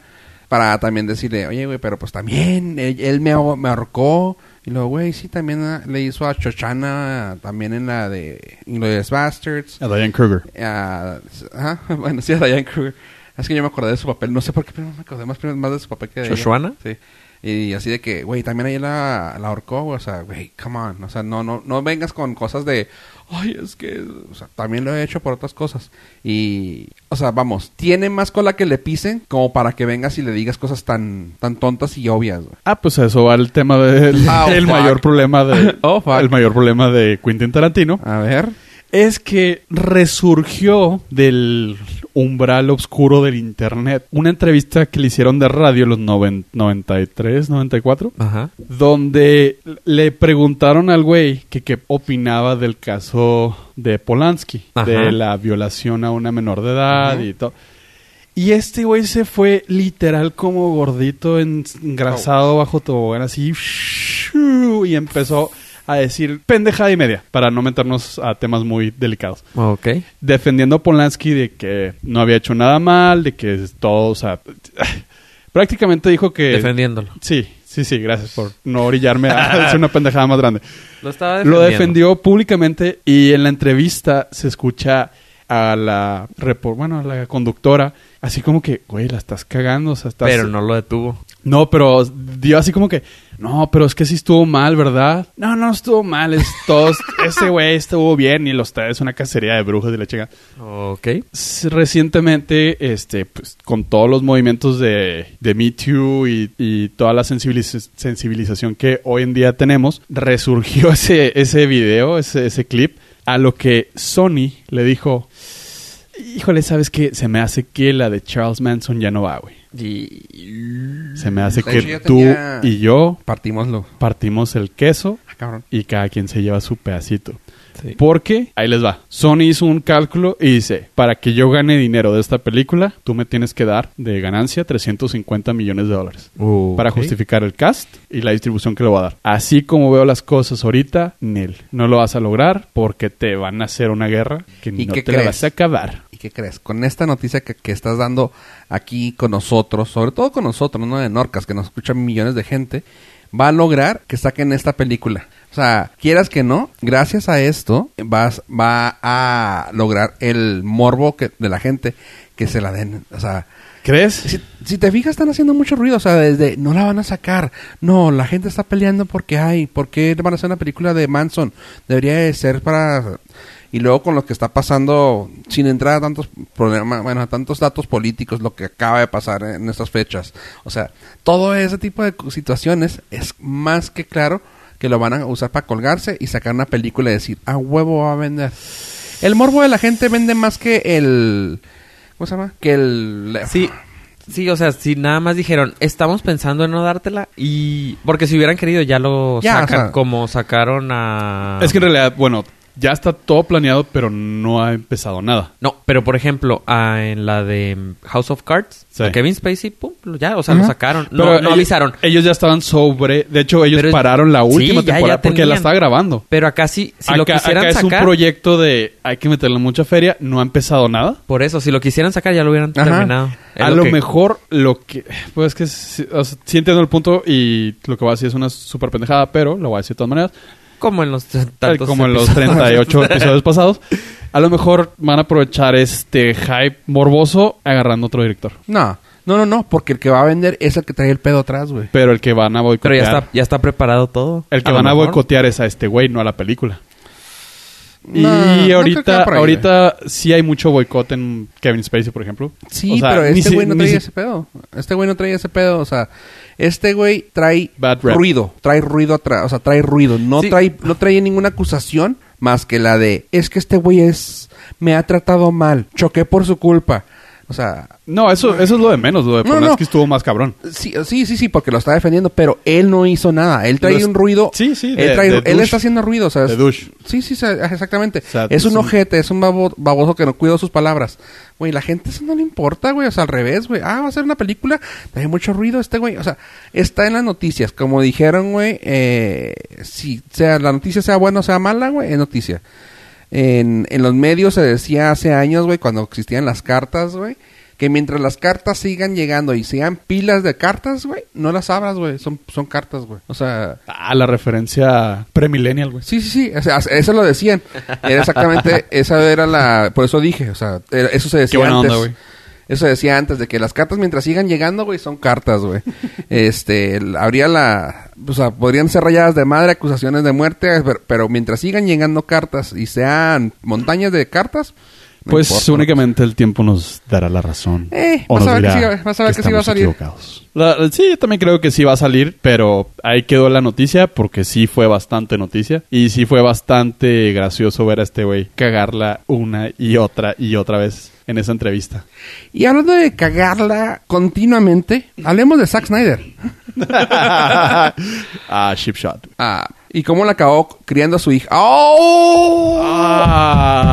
[SPEAKER 5] Para también decirle, oye, güey, pero pues también, él, él me, ahor- me ahorcó. Y luego, güey, sí, también ah, le hizo a Chochana también en la de Inglourious Bastards.
[SPEAKER 4] A Diane Kruger.
[SPEAKER 5] Ah, ajá, bueno, sí, a Diane Kruger. Es que yo me acordé de su papel. No sé por qué, pero me acordé más, más de su papel que de ella.
[SPEAKER 2] ¿Shoshuana?
[SPEAKER 5] Sí. Y así de que, güey, también ahí la, la ahorcó, güey. O sea, güey, come on. O sea, no, no, no vengas con cosas de, ay, es que, o sea, también lo he hecho por otras cosas. Y, o sea, vamos, tiene más cola que le pisen como para que vengas y le digas cosas tan, tan tontas y obvias, güey.
[SPEAKER 4] Ah, pues a eso va el tema del
[SPEAKER 5] Oh,
[SPEAKER 4] el
[SPEAKER 5] fuck.
[SPEAKER 4] mayor problema de
[SPEAKER 5] Oh, fuck.
[SPEAKER 4] el mayor problema de Quentin Tarantino
[SPEAKER 5] A ver.
[SPEAKER 4] es que resurgió del umbral oscuro del internet una entrevista que le hicieron de radio en los noven- 93, 94
[SPEAKER 2] Ajá.
[SPEAKER 4] donde le preguntaron al güey que qué opinaba del caso de Polanski,
[SPEAKER 2] Ajá.
[SPEAKER 4] de la violación a una menor de edad
[SPEAKER 5] Ajá.
[SPEAKER 4] y todo. Y este güey se fue literal como gordito, engrasado bajo tobogán, así. shoo, Y empezó a decir pendejada y media, para no meternos a temas muy delicados
[SPEAKER 2] Ok.
[SPEAKER 4] Eh, defendiendo a Polanski de que no había hecho nada mal, de que es todo, o sea, prácticamente dijo que...
[SPEAKER 2] Defendiéndolo.
[SPEAKER 4] Sí, sí, sí, gracias por no orillarme a hacer una pendejada más grande.
[SPEAKER 2] Lo estaba
[SPEAKER 4] Lo defendió públicamente y en la entrevista se escucha a la repor- bueno, a la conductora así como que, güey, la estás cagando, o sea, estás
[SPEAKER 2] Pero no lo detuvo.
[SPEAKER 4] no, pero dio así como que, no, pero es que sí estuvo mal, ¿verdad? No, no estuvo mal, es todos, ese güey estuvo bien y los trae, es una cacería de brujas y la chica.
[SPEAKER 2] Ok.
[SPEAKER 4] S- Recientemente, este, pues, con todos los movimientos de, de Me Too y, y toda la sensibiliz- sensibilización que hoy en día tenemos, resurgió ese, ese video, ese, ese clip, a lo que Sony le dijo, híjole, ¿sabes qué? Se me hace que la de Charles Manson ya no va, güey. Se me hace
[SPEAKER 5] De
[SPEAKER 4] que
[SPEAKER 5] hecho, yo
[SPEAKER 4] tú
[SPEAKER 5] tenía-
[SPEAKER 4] y yo
[SPEAKER 5] Partimoslo.
[SPEAKER 4] partimos el queso
[SPEAKER 5] Ah, cabrón.
[SPEAKER 4] y cada quien se lleva su pedacito. Porque, ahí les va, Sony hizo un cálculo y dice, para que yo gane dinero de esta película, tú me tienes que dar de ganancia 350 millones de dólares. Para justificar el cast y la distribución que le va a dar. Así como veo las cosas ahorita, Nel, no lo vas a lograr porque te van a hacer una guerra que
[SPEAKER 5] ¿Y
[SPEAKER 4] no
[SPEAKER 5] qué
[SPEAKER 4] te la
[SPEAKER 5] crees?
[SPEAKER 4] vas a acabar.
[SPEAKER 5] ¿Y qué crees? Con esta noticia que, que estás dando aquí con nosotros, sobre todo con nosotros, ¿no? En Orcas, que nos escuchan millones de gente, va a lograr que saquen esta película. O sea, quieras que no, gracias a esto vas, va a lograr el morbo que, de la gente que se la den. O sea,
[SPEAKER 4] ¿Crees?
[SPEAKER 5] si, si te fijas, están haciendo mucho ruido. O sea, desde no la van a sacar. No, la gente está peleando porque hay. ¿Por qué van a hacer una película de Manson? Debería de ser para. Y luego con lo que está pasando, sin entrar a tantos problemas, bueno, a tantos datos políticos, lo que acaba de pasar en estas fechas. O sea, todo ese tipo de cu- situaciones es más que claro que lo van a usar para colgarse y sacar una película y decir, a huevo va a vender. El morbo de la gente vende más que el... ¿Cómo se llama? Que el...
[SPEAKER 2] Sí. Sí, o sea, si nada más dijeron, estamos pensando en no dártela y... Porque si hubieran querido ya lo
[SPEAKER 5] Ya,
[SPEAKER 2] sacan
[SPEAKER 5] o sea-
[SPEAKER 2] como sacaron a...
[SPEAKER 4] Es que en realidad, bueno, ya está todo planeado, pero no ha empezado nada.
[SPEAKER 2] No, pero por ejemplo, ah, en la de mm, House of Cards,
[SPEAKER 4] Sí.
[SPEAKER 2] a Kevin Spacey, pum, lo- ya, o sea, lo
[SPEAKER 5] Ajá.
[SPEAKER 2] sacaron.
[SPEAKER 4] Pero
[SPEAKER 2] No, no
[SPEAKER 4] ellos-
[SPEAKER 2] avisaron.
[SPEAKER 4] Ellos ya estaban sobre. De hecho, ellos
[SPEAKER 2] Pero es-
[SPEAKER 4] pararon la
[SPEAKER 2] Sí,
[SPEAKER 4] última
[SPEAKER 2] ya- ya
[SPEAKER 4] temporada porque la
[SPEAKER 2] tenían.
[SPEAKER 4] estaba grabando.
[SPEAKER 2] Pero acá sí, si lo
[SPEAKER 4] acá,
[SPEAKER 2] quisieran
[SPEAKER 4] acá es un
[SPEAKER 2] sacar...
[SPEAKER 4] proyecto de hay que meterle mucha feria, no ha empezado nada.
[SPEAKER 2] Por eso, si lo quisieran sacar ya lo hubieran
[SPEAKER 5] Ajá.
[SPEAKER 2] terminado. Es
[SPEAKER 4] a lo,
[SPEAKER 2] que-
[SPEAKER 4] mejor lo que... Pues es que sí, o sea, sí entiendo el punto y lo que voy a decir es una súper pendejada, pero lo voy a decir de todas maneras.
[SPEAKER 2] Como en los
[SPEAKER 4] Tal
[SPEAKER 2] tantos
[SPEAKER 4] como en los
[SPEAKER 2] episodios.
[SPEAKER 4] 38 episodios pasados. A lo mejor van a aprovechar este hype morboso agarrando otro director.
[SPEAKER 5] No, no, no, no, porque el que va a vender es el que trae el pedo atrás, güey.
[SPEAKER 4] Pero el que van a boicotear...
[SPEAKER 2] Pero ya está, ya está preparado todo.
[SPEAKER 4] El que
[SPEAKER 2] lo
[SPEAKER 4] van a
[SPEAKER 2] mejor.
[SPEAKER 4] boicotear es a este güey, no a la película.
[SPEAKER 5] No, no creo
[SPEAKER 4] y
[SPEAKER 5] que
[SPEAKER 4] ahorita,
[SPEAKER 5] va por ahí,
[SPEAKER 4] ahorita sí hay mucho boicot en Kevin Spacey, por ejemplo.
[SPEAKER 5] güey. Sí,
[SPEAKER 4] O sea,
[SPEAKER 5] pero
[SPEAKER 4] ni
[SPEAKER 5] este
[SPEAKER 4] si-
[SPEAKER 5] güey no
[SPEAKER 4] ni
[SPEAKER 5] trae
[SPEAKER 4] si-
[SPEAKER 5] ese pedo. Este güey no trae ese pedo, o sea, este güey trae
[SPEAKER 4] Bad rap.
[SPEAKER 5] ruido, trae ruido atrás, o sea, trae ruido, no
[SPEAKER 2] Sí.
[SPEAKER 5] trae no trae ninguna acusación más que la de es que este güey es me ha tratado mal, choqué por su culpa. O sea,
[SPEAKER 4] No, eso, eso es lo de menos. Lo de
[SPEAKER 5] No,
[SPEAKER 4] Polanski
[SPEAKER 5] no.
[SPEAKER 4] estuvo más cabrón.
[SPEAKER 5] sí, sí, sí, sí, porque lo está defendiendo, pero él no hizo nada. Él trae
[SPEAKER 4] Lo es-
[SPEAKER 5] un ruido.
[SPEAKER 4] Sí, sí,
[SPEAKER 5] Él,
[SPEAKER 4] de-
[SPEAKER 5] trae-
[SPEAKER 4] de
[SPEAKER 5] él
[SPEAKER 4] douche.
[SPEAKER 5] está haciendo ruido, ¿sabes?
[SPEAKER 4] De douche.
[SPEAKER 5] Sí, sí, sa- ajá, exactamente.
[SPEAKER 4] sea,
[SPEAKER 5] es
[SPEAKER 4] es
[SPEAKER 5] un
[SPEAKER 4] un-
[SPEAKER 5] ojete, es un babo- baboso que no cuida sus palabras. Güey, la gente eso no le importa, güey. O sea, al revés, güey. Ah, va a ser una película. Trae mucho ruido este güey. O sea, está en las noticias. Como dijeron, güey, eh, si sea la noticia sea buena o sea mala, güey, es noticia. En, en los medios se decía hace años, güey, cuando existían las cartas, güey, que mientras las cartas sigan llegando y sean pilas de cartas, güey, no las abras, güey. Son, son cartas, güey. O sea,
[SPEAKER 4] Ah, la referencia premillennial, güey.
[SPEAKER 5] Sí, sí, sí. O sea, eso lo decían. Era exactamente, esa era la... Por eso dije, o sea, era- eso se decía
[SPEAKER 4] Qué buena
[SPEAKER 5] antes.
[SPEAKER 4] onda, güey.
[SPEAKER 5] Eso decía antes, de que las cartas mientras sigan llegando, güey, son cartas, güey. este, el- habría la... O sea, podrían ser rayadas de madre, acusaciones de muerte, pero, pero mientras sigan llegando cartas y sean montañas de cartas... no
[SPEAKER 4] Pues
[SPEAKER 5] importa.
[SPEAKER 4] únicamente el tiempo nos dará la razón.
[SPEAKER 5] Eh,
[SPEAKER 4] O
[SPEAKER 5] vas
[SPEAKER 4] nos
[SPEAKER 5] a ver que
[SPEAKER 4] dirá
[SPEAKER 5] sí, vas a ver que sí va a
[SPEAKER 4] estamos
[SPEAKER 5] salir.
[SPEAKER 4] equivocados. La- sí, yo también creo que sí va a salir, pero ahí quedó la noticia porque sí fue bastante noticia. Y sí fue bastante gracioso ver a este güey cagarla una y otra y otra vez en esa entrevista.
[SPEAKER 5] Y hablando de cagarla continuamente, hablemos de Zack Snyder.
[SPEAKER 4] ah, ship shot.
[SPEAKER 5] Ah, y cómo la acabó criando a su hija. ¡Oh!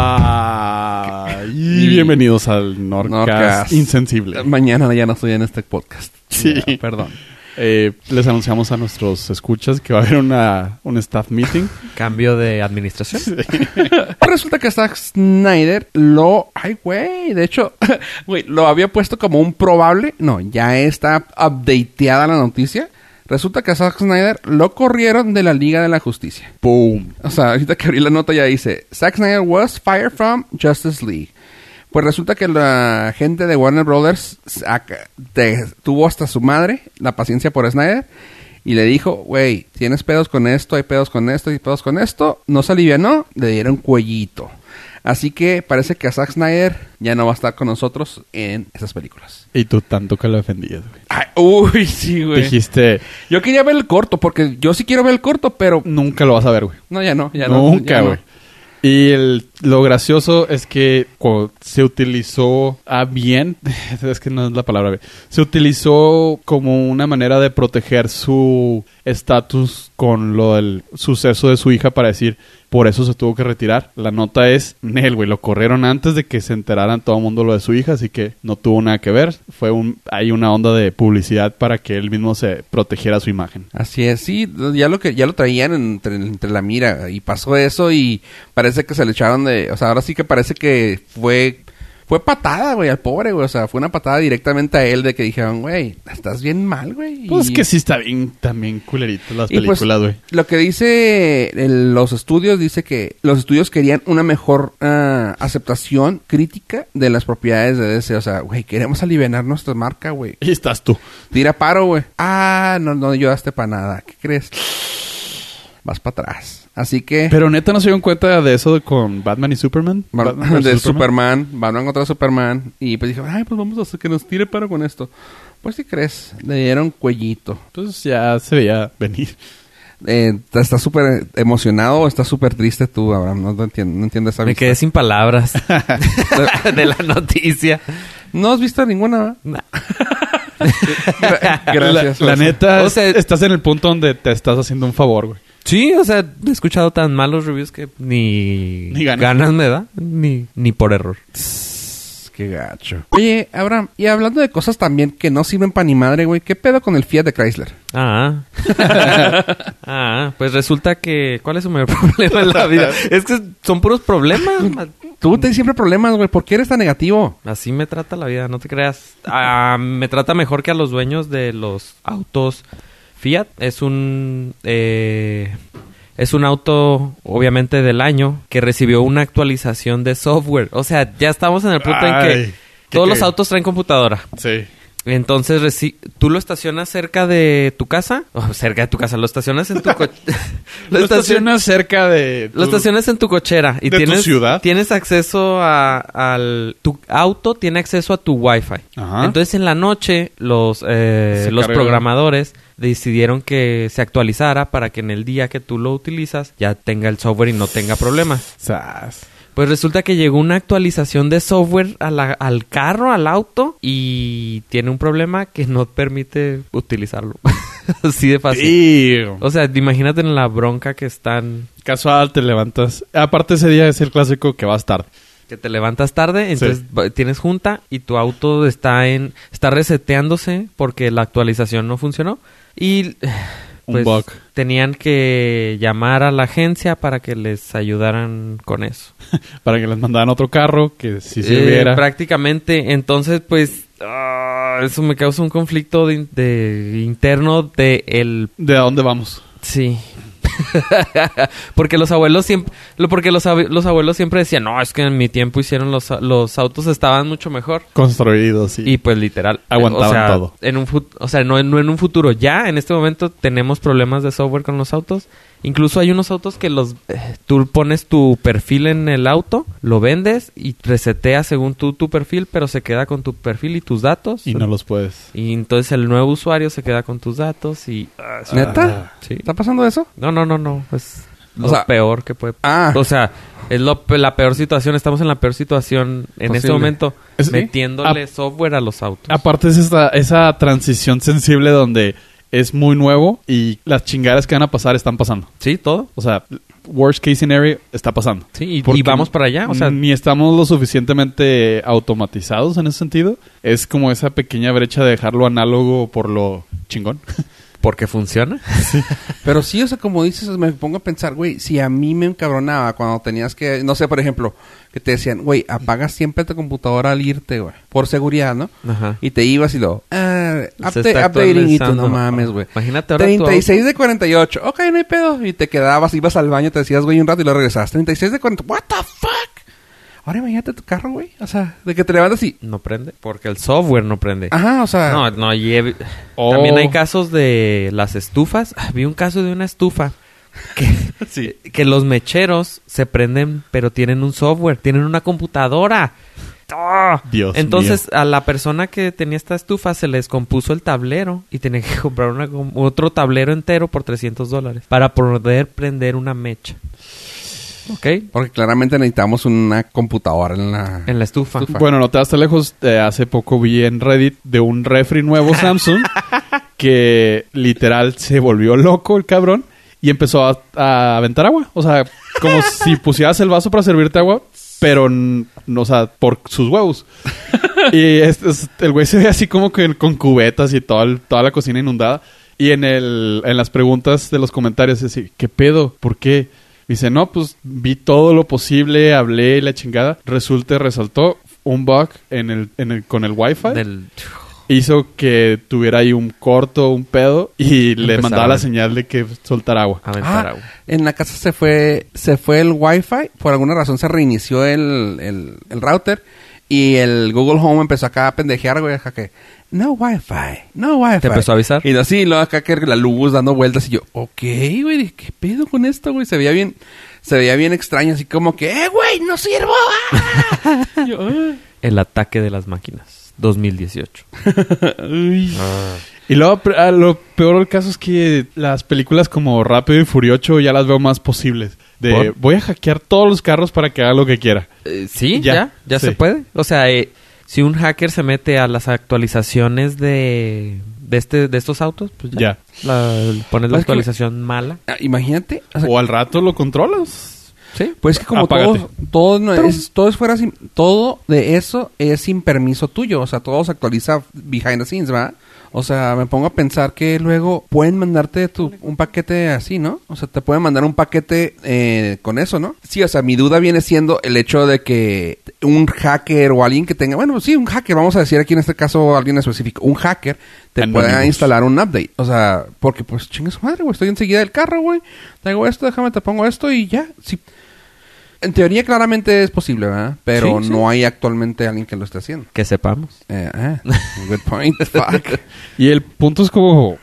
[SPEAKER 4] Ah, y bienvenidos al Norcast,
[SPEAKER 5] Norcas.
[SPEAKER 4] Insensible.
[SPEAKER 5] Mañana ya no estoy en este podcast.
[SPEAKER 4] Sí.
[SPEAKER 5] Ya, perdón.
[SPEAKER 4] Eh, les anunciamos a nuestros escuchas que va a haber una, un staff meeting.
[SPEAKER 2] Cambio de administración.
[SPEAKER 5] Pues Resulta que Zack Snyder lo... Ay, güey. De hecho, güey, lo había puesto como un probable. No, ya está updateada la noticia. Resulta que a Zack Snyder lo corrieron de la Liga de la Justicia.
[SPEAKER 4] ¡Boom!
[SPEAKER 5] O sea, ahorita que abrí la nota ya dice, Zack Snyder was fired from Justice League. Pues resulta que la gente de Warner Brothers saca- te- tuvo hasta su madre la paciencia por Snyder y le dijo, güey, tienes pedos con esto, hay pedos con esto, hay pedos con esto. No se alivianó, le dieron cuellito. Así que parece que a Zack Snyder ya no va a estar con nosotros en esas películas.
[SPEAKER 4] Y tú tanto que lo defendías, güey.
[SPEAKER 5] Ay, uy, sí, güey.
[SPEAKER 4] Dijiste,
[SPEAKER 5] Yo quería ver el corto, porque yo sí quiero ver el corto, pero...
[SPEAKER 4] nunca lo vas a ver, güey.
[SPEAKER 5] No, ya no, ya no.
[SPEAKER 4] Nunca,
[SPEAKER 5] ya no.
[SPEAKER 4] güey. Y el- lo gracioso es que co- se utilizó a bien, es que no es la palabra bien, se utilizó como una manera de proteger su estatus con lo del suceso de su hija para decir, por eso se tuvo que retirar. La nota es, Nel, güey, lo corrieron antes de que se enteraran todo el mundo lo de su hija, así que no tuvo nada que ver. Fue un, hay una onda de publicidad para que él mismo se protegiera su imagen.
[SPEAKER 5] Así es, sí, ya lo que ya lo traían entre, entre la mira y pasó eso y parece que se le echaron de, o sea, ahora sí que parece que fue fue patada, güey, al pobre, güey, o sea, fue una patada directamente a él de que dijeron, güey, estás bien mal, güey.
[SPEAKER 4] Pues
[SPEAKER 5] y-
[SPEAKER 4] que sí está bien, también culeritas las
[SPEAKER 5] y pues,
[SPEAKER 4] películas, güey.
[SPEAKER 5] lo que dice el- los estudios, dice que los estudios querían una mejor ah, aceptación crítica de las propiedades de DC. O sea, güey, queremos aliviar nuestra marca, güey.
[SPEAKER 4] Y estás tú.
[SPEAKER 5] Tira paro, güey. Ah, no, no ayudaste para nada. ¿Qué crees? Vas para atrás. Así que...
[SPEAKER 4] Pero neta no se dieron cuenta de eso de- con Batman y Superman.
[SPEAKER 5] Bar-
[SPEAKER 4] Batman versus
[SPEAKER 5] de Superman, van a encontrar Superman. Y pues dije, ay, pues vamos a hacer que nos tire paro con esto. Pues, ¿qué crees? Le dieron cuellito.
[SPEAKER 4] Pues ya se veía venir.
[SPEAKER 5] Eh, ¿Estás súper emocionado o estás súper triste tú, Abraham? No, te entiendo, no entiendo esa
[SPEAKER 2] Me
[SPEAKER 5] vista.
[SPEAKER 2] quedé sin palabras de la noticia.
[SPEAKER 5] No has visto ninguna, ¿verdad?
[SPEAKER 2] Nah.
[SPEAKER 5] Gra- Gracias.
[SPEAKER 4] La, la
[SPEAKER 5] Larsa.
[SPEAKER 4] neta,
[SPEAKER 2] O sea-
[SPEAKER 4] es- estás en el punto donde te estás haciendo un favor, güey.
[SPEAKER 2] Sí, o sea, he escuchado tan malos reviews que ni,
[SPEAKER 4] Ni ganas.
[SPEAKER 2] me da, ni, ni por error.
[SPEAKER 5] Qué gacho. Oye, Abraham, y hablando de cosas también que no sirven para ni madre, güey, ¿qué pedo con el Fiat de Chrysler?
[SPEAKER 2] Ah. ah, pues resulta que... ¿Cuál es su mayor problema en la vida? Es que son puros problemas. ma-
[SPEAKER 5] Tú tienes siempre problemas, güey. ¿Por qué eres tan negativo?
[SPEAKER 2] Así me trata la vida, no te creas. Ah, me trata mejor que a los dueños de los autos Fiat. Es un eh, es un auto, obviamente del año, que recibió una actualización de software. O sea, ya estamos en el punto en
[SPEAKER 4] Ay,
[SPEAKER 2] que todos
[SPEAKER 4] qué-
[SPEAKER 2] los autos traen computadora.
[SPEAKER 4] Sí.
[SPEAKER 2] Entonces, reci- tú lo estacionas cerca de tu casa, o cerca de tu casa, lo estacionas en tu coche.
[SPEAKER 4] Lo, estacionas cerca de...
[SPEAKER 2] Lo
[SPEAKER 4] tu-
[SPEAKER 2] estacionas en tu cochera y
[SPEAKER 4] ¿De tu
[SPEAKER 2] tienes,
[SPEAKER 4] ciudad?
[SPEAKER 2] tienes acceso a, al... Tu auto tiene acceso a tu Wi-Fi.
[SPEAKER 4] Ajá.
[SPEAKER 2] Entonces, en la noche, los, eh,
[SPEAKER 4] Se
[SPEAKER 2] los
[SPEAKER 4] carga.
[SPEAKER 2] programadores decidieron que se actualizara para que en el día que tú lo utilizas ya tenga el software y no tenga problemas.
[SPEAKER 4] Sas.
[SPEAKER 2] Pues resulta que llegó una actualización de software a la- al carro, al auto, y tiene un problema que no permite utilizarlo. Así de fácil.
[SPEAKER 4] Tío.
[SPEAKER 2] O sea, imagínate en la bronca que están
[SPEAKER 4] Casual, te levantas. Aparte ese día es el clásico que vas tarde.
[SPEAKER 2] que te levantas tarde,
[SPEAKER 4] Sí.
[SPEAKER 2] entonces va- tienes junta y tu auto está en está reseteándose porque la actualización no funcionó y pues,
[SPEAKER 4] Un bug.
[SPEAKER 2] tenían que llamar a la agencia para que les ayudaran con eso.
[SPEAKER 4] Para que les mandaran otro carro que si
[SPEAKER 2] Eh,
[SPEAKER 4] sirviera.
[SPEAKER 2] prácticamente, entonces pues ah, eso me causa un conflicto de, in- de interno de el
[SPEAKER 4] ¿De a dónde vamos?
[SPEAKER 2] sí. porque los abuelos siempre lo- porque los, ab- los abuelos siempre decían, "No, es que en mi tiempo hicieron los a- los autos estaban mucho mejor."
[SPEAKER 4] Construidos, sí.
[SPEAKER 2] Y pues literal.
[SPEAKER 4] Aguantaban
[SPEAKER 2] o sea,
[SPEAKER 4] todo.
[SPEAKER 2] En un fut- o sea, no, en- no en un futuro. Ya en este momento tenemos problemas de software con los autos. Incluso hay unos autos que los eh, tú pones tu perfil en el auto, lo vendes y reseteas según tú tu perfil, pero se queda con tu perfil y tus datos.
[SPEAKER 4] Y no los puedes.
[SPEAKER 2] Y entonces el nuevo usuario se queda con tus datos y... ah, es-
[SPEAKER 5] ¿Neta?
[SPEAKER 2] Sí.
[SPEAKER 5] ¿Está pasando eso?
[SPEAKER 2] No, no, no, no. Es
[SPEAKER 5] O
[SPEAKER 2] lo
[SPEAKER 5] sea-
[SPEAKER 2] peor que puede...
[SPEAKER 5] Ah.
[SPEAKER 2] O sea, es lo, pe- la peor situación. Estamos en la peor situación en este
[SPEAKER 5] Posible.
[SPEAKER 2] momento
[SPEAKER 4] Es- Ah.
[SPEAKER 2] metiéndole software a los autos.
[SPEAKER 4] Aparte es esta, esa transición sensible donde es muy nuevo y las chingadas que van a pasar están pasando.
[SPEAKER 2] Sí, todo.
[SPEAKER 4] O sea, worst case scenario está pasando.
[SPEAKER 2] Sí, y,
[SPEAKER 4] Porque
[SPEAKER 2] y vamos para allá. O sea,
[SPEAKER 4] ni estamos lo suficientemente automatizados en ese sentido. Es como esa pequeña brecha de dejarlo análogo por lo chingón.
[SPEAKER 2] porque funciona.
[SPEAKER 5] Pero sí, o sea, como dices, me pongo a pensar, güey, si a mí me encabronaba cuando tenías que, no sé, por ejemplo, que te decían, güey, apaga siempre tu computadora al irte, güey, por seguridad, ¿no?
[SPEAKER 2] Ajá.
[SPEAKER 5] Y te ibas y lo, ah,
[SPEAKER 2] Se
[SPEAKER 5] update-
[SPEAKER 2] está
[SPEAKER 5] updating y tú,
[SPEAKER 2] actualizando.
[SPEAKER 5] no mames, güey.
[SPEAKER 2] Imagínate ahora tu
[SPEAKER 5] 36 de 48, ok, no hay pedo. Y te quedabas, ibas al baño, te decías, güey, un rato y lo regresabas. 36 de 40, what the fuck? Ahora imagínate tu carro, güey. O sea, de que te levantas y,
[SPEAKER 2] No prende. Porque el software no prende.
[SPEAKER 5] ajá, o sea,
[SPEAKER 2] No, no lleve.
[SPEAKER 4] Oh.
[SPEAKER 2] También hay casos de las estufas. Ah, Vi un caso de una estufa. Que, que los mecheros se prenden, pero tienen un software, tienen una computadora. ¡Ah!
[SPEAKER 4] Dios
[SPEAKER 2] Entonces, a la persona que tenía esta estufa se le descompuso el tablero y tenía que comprar una com- otro tablero entero por 300 dólares para poder prender una mecha. ¿Ok?
[SPEAKER 5] porque claramente necesitamos una computadora en la...
[SPEAKER 2] En la estufa.
[SPEAKER 4] Bueno, no te vas tan lejos. eh, hace poco vi en Reddit de un refri nuevo Samsung que literal se volvió loco el cabrón y empezó a, a aventar agua. O sea, como si pusieras el vaso para servirte agua, pero, n- no, o sea, por sus huevos. Y este es- el güey se ve así como que con cubetas y todo el- toda la cocina inundada. Y en, el, en las preguntas de los comentarios es así, ¿qué pedo? ¿Por qué? Dice, no, pues vi todo lo posible, hablé y la chingada. Resulta, resaltó un bug en el, en el, con el wifi.
[SPEAKER 2] Del-
[SPEAKER 4] Hizo que tuviera ahí un corto, un pedo. Y le
[SPEAKER 2] Empezaba.
[SPEAKER 4] mandaba la señal de que soltara agua.
[SPEAKER 2] aventar
[SPEAKER 5] Ah,
[SPEAKER 2] agua.
[SPEAKER 5] En la casa se fue, se fue el Wi-Fi. Por alguna razón se reinició el, el, el router. Y el Google Home empezó acá a pendejear, güey. Acá que, no Wi-Fi, no Wi-Fi.
[SPEAKER 2] ¿Te empezó a avisar?
[SPEAKER 5] Y así, y luego acá que la luz dando vueltas. Y yo, ok, güey, dije, ¿qué pedo con esto, güey? Se veía bien, se veía bien extraño. Así como que, eh, güey, no sirvo. ah". Y yo, "Ah".
[SPEAKER 2] El ataque de las máquinas. 2018.
[SPEAKER 4] Y luego, pre- ah, lo peor del caso es que las películas como Rápido y Furiocho ya las veo más posibles. De
[SPEAKER 2] ¿Por?
[SPEAKER 4] voy a hackear todos los carros para que haga lo que quiera.
[SPEAKER 2] Eh, sí,
[SPEAKER 4] Ya,
[SPEAKER 2] ya. Ya,
[SPEAKER 4] sí.
[SPEAKER 2] se puede. O sea, eh, si un hacker se mete a las actualizaciones de, de, este, de estos autos, pues ya.
[SPEAKER 4] Ya.
[SPEAKER 2] La, pones la
[SPEAKER 5] Pues que-
[SPEAKER 2] actualización mala.
[SPEAKER 5] Ah, Imagínate, o sea,
[SPEAKER 4] O al rato lo controlas.
[SPEAKER 2] Sí.
[SPEAKER 5] Pues que como
[SPEAKER 4] Apágate.
[SPEAKER 5] todo, todo, no es, todo es fuera sin- todo de eso es sin permiso tuyo, o sea, todo se actualiza behind the scenes, ¿verdad? O sea, me pongo a pensar que luego pueden mandarte tu, un paquete así, ¿no? O sea, te pueden mandar un paquete eh, con eso, ¿no? Sí, o sea, mi duda viene siendo el hecho de que un hacker o alguien que tenga, bueno, sí, un hacker, vamos a decir aquí en este caso alguien específico, un hacker te
[SPEAKER 4] Anonymous.
[SPEAKER 5] pueda instalar un update. O sea, porque pues chinga su madre, güey, estoy enseguida del carro, güey. Tengo esto, déjame, te pongo esto y ya. Sí, en teoría claramente es posible, ¿verdad? Pero
[SPEAKER 2] Sí, sí.
[SPEAKER 5] no hay actualmente alguien que lo esté haciendo.
[SPEAKER 2] Que sepamos.
[SPEAKER 5] Eh, ah, good point. Fuck.
[SPEAKER 4] Y el punto es como,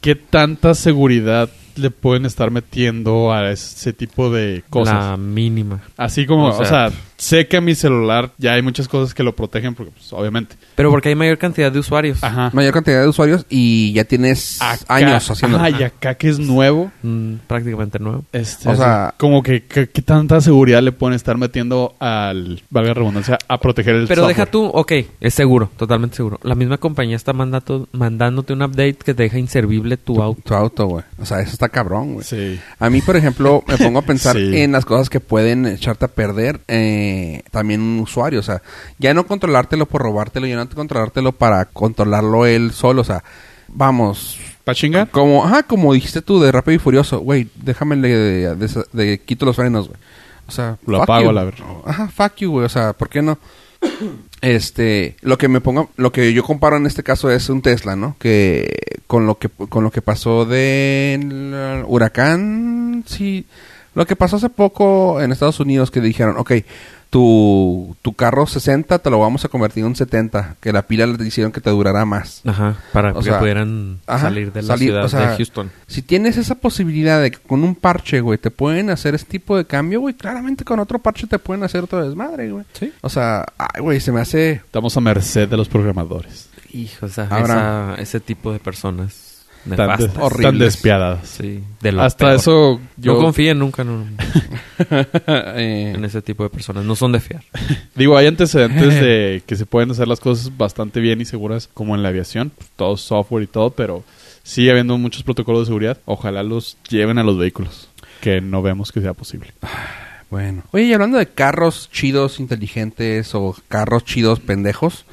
[SPEAKER 4] ¿qué tanta seguridad le pueden estar metiendo a ese tipo de cosas?
[SPEAKER 2] La mínima.
[SPEAKER 4] Así como, o
[SPEAKER 2] o
[SPEAKER 4] sea,
[SPEAKER 2] sea-
[SPEAKER 4] sé que mi celular ya hay muchas cosas que lo protegen porque, pues, obviamente.
[SPEAKER 2] Pero porque hay mayor cantidad de usuarios.
[SPEAKER 4] Ajá.
[SPEAKER 5] Mayor cantidad de usuarios y ya tienes
[SPEAKER 4] Acá-
[SPEAKER 5] años haciéndolo.
[SPEAKER 4] Ajá, y acá que es nuevo.
[SPEAKER 2] Mm, prácticamente nuevo.
[SPEAKER 4] Este,
[SPEAKER 5] O
[SPEAKER 4] así,
[SPEAKER 5] sea-
[SPEAKER 4] como que, que- ¿qué tanta seguridad le pueden estar metiendo al, valga la redundancia, a proteger el
[SPEAKER 2] Pero deja
[SPEAKER 4] software?
[SPEAKER 2] tú, ok, es seguro, totalmente seguro. La misma compañía está mandato- mandándote un update que te deja inservible tu auto.
[SPEAKER 5] Tu auto, güey. O sea, eso está cabrón, güey.
[SPEAKER 4] Sí.
[SPEAKER 5] A mí, por ejemplo, me pongo a pensar
[SPEAKER 4] Sí.
[SPEAKER 5] en las cosas que pueden echarte a perder eh, también un usuario. O sea, ya no controlártelo por robártelo, ya no controlártelo para controlarlo él solo. O sea, vamos,
[SPEAKER 4] ¿Para chingar?
[SPEAKER 5] Como, ajá, como dijiste tú de Rápido y Furioso, güey, déjame le de- de- de- quito los frenos, güey. O sea,
[SPEAKER 4] Lo
[SPEAKER 5] fuck
[SPEAKER 4] apago
[SPEAKER 5] you.
[SPEAKER 4] a la ver-
[SPEAKER 5] Ajá, fuck you, güey, o sea, ¿por qué no? Este, lo que me pongo, lo que yo comparo en este caso es un Tesla, ¿no? Que con lo que con lo que pasó del huracán Simón, sí. Lo que pasó hace poco en Estados Unidos que dijeron, ok, tu, tu carro 60 te lo vamos a convertir en un 70, que la pila le hicieron que te durará más.
[SPEAKER 2] Ajá, para
[SPEAKER 5] O
[SPEAKER 2] que
[SPEAKER 5] sea,
[SPEAKER 2] pudieran
[SPEAKER 5] ajá,
[SPEAKER 2] salir de la
[SPEAKER 5] salir,
[SPEAKER 2] ciudad
[SPEAKER 5] o sea,
[SPEAKER 2] de Houston.
[SPEAKER 5] Si tienes esa posibilidad de que con un parche, güey, te pueden hacer ese tipo de cambio, güey, claramente con otro parche te pueden hacer otro desmadre, güey.
[SPEAKER 2] Sí.
[SPEAKER 5] O sea, ay, güey, se me hace...
[SPEAKER 4] Estamos a merced de los programadores.
[SPEAKER 2] Hijo, o sea,
[SPEAKER 5] Habrá-
[SPEAKER 2] esa- ese tipo de personas
[SPEAKER 4] Tan,
[SPEAKER 2] nefastas.
[SPEAKER 4] des-
[SPEAKER 5] horribles.
[SPEAKER 4] tan despiadadas.
[SPEAKER 2] Sí, de lo
[SPEAKER 4] Hasta
[SPEAKER 2] peor.
[SPEAKER 4] eso yo
[SPEAKER 2] No confíen nunca en, un-
[SPEAKER 5] eh,
[SPEAKER 2] en ese tipo de personas. No son de fiar.
[SPEAKER 4] digo, hay antecedentes de que se pueden hacer las cosas bastante bien y seguras como en la aviación, pues, todo software y todo, pero sigue habiendo muchos protocolos de seguridad. Ojalá los lleven a los vehículos, que no vemos que sea posible.
[SPEAKER 5] Bueno. Oye, y hablando de carros chidos, inteligentes o carros chidos pendejos.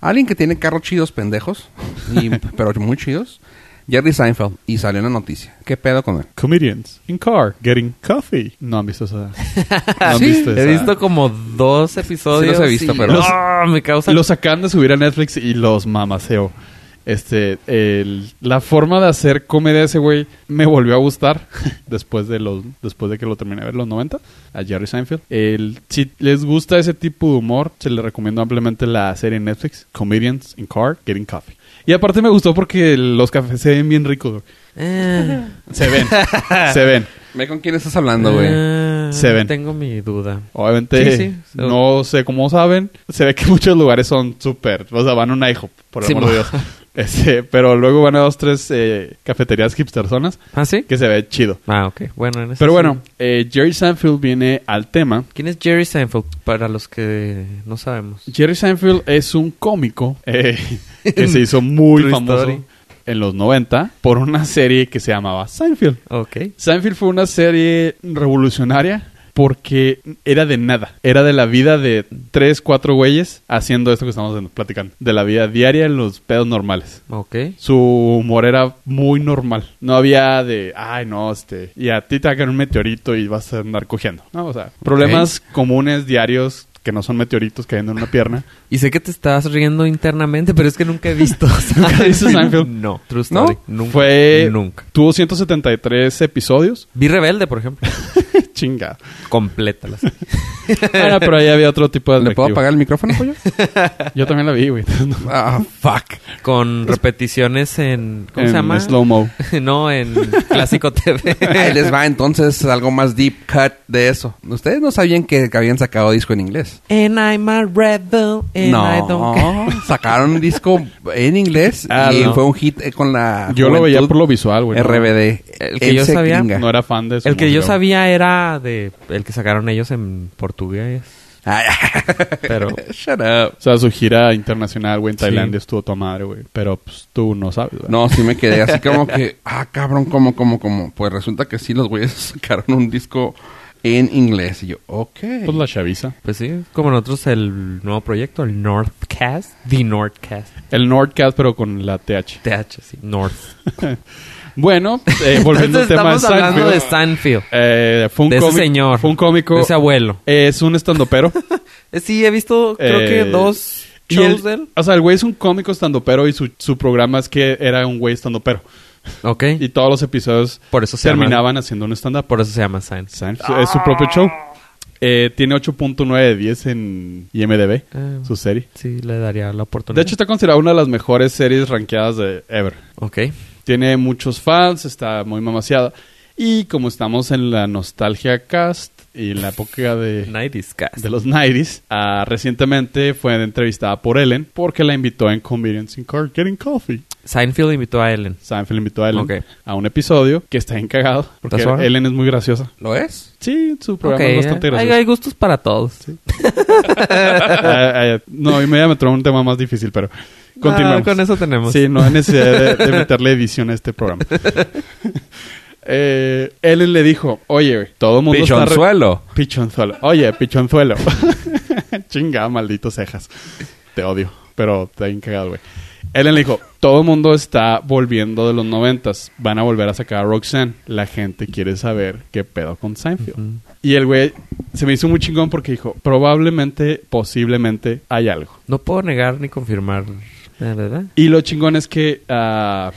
[SPEAKER 5] Alguien que tiene carros chidos pendejos, y- pero muy chidos. Jerry Seinfeld. Y salió en la noticia. ¿Qué pedo con él?
[SPEAKER 4] Comedians in car getting coffee. No han visto esa. No han
[SPEAKER 5] Sí,
[SPEAKER 4] visto
[SPEAKER 2] He
[SPEAKER 4] esa.
[SPEAKER 2] visto como dos episodios.
[SPEAKER 5] Sí los he visto,
[SPEAKER 2] y-
[SPEAKER 5] pero-
[SPEAKER 2] ¡Ah! me causa.
[SPEAKER 4] Los acaban de subir a Netflix y los mamaseo. Este, el- la forma de hacer comedia de ese güey me volvió a gustar después de los, después de que lo terminé de ver los 90 a Jerry Seinfeld. El, si les gusta ese tipo de humor, se les recomiendo ampliamente la serie en Netflix, Comedians in Car Getting Coffee. Y aparte me gustó porque los cafés se ven bien ricos. güey.
[SPEAKER 2] Eh,
[SPEAKER 4] Se ven, se ven.
[SPEAKER 5] Ve con quién estás hablando, güey.
[SPEAKER 2] eh,
[SPEAKER 4] Se ven.
[SPEAKER 2] Tengo mi duda.
[SPEAKER 4] Obviamente,
[SPEAKER 2] Sí, sí.
[SPEAKER 4] no sé cómo saben. Se ve que muchos lugares son súper. O sea, van a una IHOP, por el
[SPEAKER 5] Sí,
[SPEAKER 4] amor de Dios. Este, pero luego van a dos, tres eh, cafeterías hipsterzonas
[SPEAKER 2] ¿Ah, sí?
[SPEAKER 4] que se ve chido.
[SPEAKER 2] Ah, ok. Bueno, en eso
[SPEAKER 4] Pero
[SPEAKER 2] sí.
[SPEAKER 4] bueno, eh, Jerry Seinfeld viene al tema.
[SPEAKER 2] ¿Quién es Jerry Seinfeld? Para los que no sabemos.
[SPEAKER 4] Jerry Seinfeld es un cómico eh, que se hizo muy
[SPEAKER 2] True
[SPEAKER 4] famoso
[SPEAKER 2] story.
[SPEAKER 4] en los 90 por una serie que se llamaba Seinfeld.
[SPEAKER 2] Ok.
[SPEAKER 4] Seinfeld fue una serie revolucionaria porque era de nada. Era de la vida de tres, cuatro güeyes haciendo esto que estamos platicando. De la vida diaria en los pedos normales.
[SPEAKER 2] Ok.
[SPEAKER 4] Su humor era muy normal. No había de, ay, no, este, y a ti te hagan un meteorito y vas a andar cogiendo. No, o sea, problemas comunes diarios que no son meteoritos cayendo en una pierna.
[SPEAKER 2] Y sé que te estás riendo internamente, pero es que nunca he visto.
[SPEAKER 4] ¿Nunca viste Ah, Seinfeld?
[SPEAKER 2] No. True story. Nunca.
[SPEAKER 4] Fue.
[SPEAKER 2] Nunca.
[SPEAKER 4] Tuvo 173 episodios.
[SPEAKER 2] Vi Rebelde, por ejemplo.
[SPEAKER 4] Chinga.
[SPEAKER 2] Completa la serie.
[SPEAKER 4] Ah, pero ahí había otro tipo de.
[SPEAKER 5] ¿Le puedo
[SPEAKER 4] atractivo.
[SPEAKER 5] apagar el micrófono, pollo?
[SPEAKER 4] Yo también la vi, güey. No.
[SPEAKER 5] ah, fuck.
[SPEAKER 2] Con repeticiones en. ¿Cómo
[SPEAKER 4] en
[SPEAKER 2] se llama?
[SPEAKER 4] slow-mo.
[SPEAKER 2] no, en Clásico TV.
[SPEAKER 5] Ahí les va entonces algo más deep cut de eso. Ustedes no sabían que habían sacado disco en inglés.
[SPEAKER 2] And I'm a rebel. And Eh, I don't care.
[SPEAKER 5] No, sacaron un disco en inglés
[SPEAKER 4] Ah,
[SPEAKER 5] y
[SPEAKER 4] no.
[SPEAKER 5] fue un hit eh, con la.
[SPEAKER 4] Yo lo veía
[SPEAKER 5] juventud
[SPEAKER 4] por lo visual, güey. ¿no?
[SPEAKER 5] RBD.
[SPEAKER 2] El que
[SPEAKER 5] Él
[SPEAKER 2] yo
[SPEAKER 5] se
[SPEAKER 2] sabía,
[SPEAKER 5] cringa.
[SPEAKER 4] No era fan de eso.
[SPEAKER 2] El que yo sabía era de. El que sacaron ellos en portugués.
[SPEAKER 5] Ay,
[SPEAKER 2] Pero.
[SPEAKER 5] Shut up.
[SPEAKER 4] O sea, su gira internacional, güey, en Tailandia estuvo tu madre, güey. Pero pues tú no sabes, ¿verdad?
[SPEAKER 5] No, sí me quedé así como que, ah, cabrón, ¿cómo, cómo, cómo? Pues resulta que sí, los güeyes sacaron un disco en inglés. Y yo, ok.
[SPEAKER 4] Pues la chaviza.
[SPEAKER 2] Pues sí, es como nosotros el nuevo proyecto, el Northcast. The Northcast.
[SPEAKER 4] El Nordcast, pero con la TH.
[SPEAKER 2] TH, sí. North.
[SPEAKER 4] Bueno, eh, volviendo al
[SPEAKER 2] Entonces
[SPEAKER 4] tema de
[SPEAKER 2] estamos hablando de
[SPEAKER 4] Seinfeld.
[SPEAKER 2] Stanfield.
[SPEAKER 4] Eh, fue un
[SPEAKER 2] de ese
[SPEAKER 4] cómico-
[SPEAKER 2] señor.
[SPEAKER 4] Fue un cómico.
[SPEAKER 2] De ese abuelo.
[SPEAKER 4] es un estandopero.
[SPEAKER 2] Eh, Sí, he visto creo
[SPEAKER 4] Eh,
[SPEAKER 2] que dos
[SPEAKER 4] Y
[SPEAKER 2] shows
[SPEAKER 4] él-
[SPEAKER 2] de él.
[SPEAKER 4] O sea, el güey es un cómico estandopero y su, su programa es que era un güey estandopero.
[SPEAKER 2] Ok.
[SPEAKER 4] Y todos los episodios
[SPEAKER 2] por eso se llama.
[SPEAKER 4] terminaban haciendo un stand-up.
[SPEAKER 2] Por eso se llama Science.
[SPEAKER 4] Seinfeld. Es su propio show. Eh, tiene 8.9 de 10 en IMDB,
[SPEAKER 2] Ah.
[SPEAKER 4] su serie.
[SPEAKER 2] Sí, le daría la oportunidad.
[SPEAKER 4] De hecho, está considerada una de las mejores series rankeadas de ever.
[SPEAKER 2] Ok.
[SPEAKER 4] Tiene muchos fans, está muy mamaciada. Y como estamos en la nostalgia cast y en la época de,
[SPEAKER 2] Nighties Cast.
[SPEAKER 4] de los 90s, ah, recientemente fue entrevistada por Ellen porque la invitó en Convenience in Car Getting Coffee.
[SPEAKER 2] Seinfeld invitó a Ellen.
[SPEAKER 4] Seinfeld invitó a Ellen
[SPEAKER 2] Ok.
[SPEAKER 4] a un episodio que está encagado porque
[SPEAKER 2] ¿Estás suave?
[SPEAKER 4] Ellen es muy graciosa.
[SPEAKER 5] ¿Lo es?
[SPEAKER 4] Sí, su programa
[SPEAKER 2] Ok,
[SPEAKER 4] es bastante
[SPEAKER 2] eh, hay,
[SPEAKER 4] gracioso.
[SPEAKER 2] hay gustos para todos.
[SPEAKER 4] Ah, ah, no, y me voy a meter a un tema más difícil, pero continuamos.
[SPEAKER 2] Ah, con eso tenemos.
[SPEAKER 4] Sí, no hay necesidad de, de meterle edición a este programa. Eh, Ellen le dijo, oye, güey, todo el mundo está... re-
[SPEAKER 5] Pichonzuelo.
[SPEAKER 4] Pichonzuelo. Oye, pichonzuelo. Chinga, maldito cejas. Te odio, pero está bien cagado, güey. Ellen le dijo, todo el mundo está volviendo de los noventas. Van a volver a sacar a Roxanne. La gente quiere saber qué pedo con Seinfeld.
[SPEAKER 2] Mm.
[SPEAKER 4] Y el güey se me hizo muy chingón porque dijo, probablemente, posiblemente, hay algo.
[SPEAKER 2] No puedo negar ni confirmar. La verdad.
[SPEAKER 4] Y lo chingón es que ah,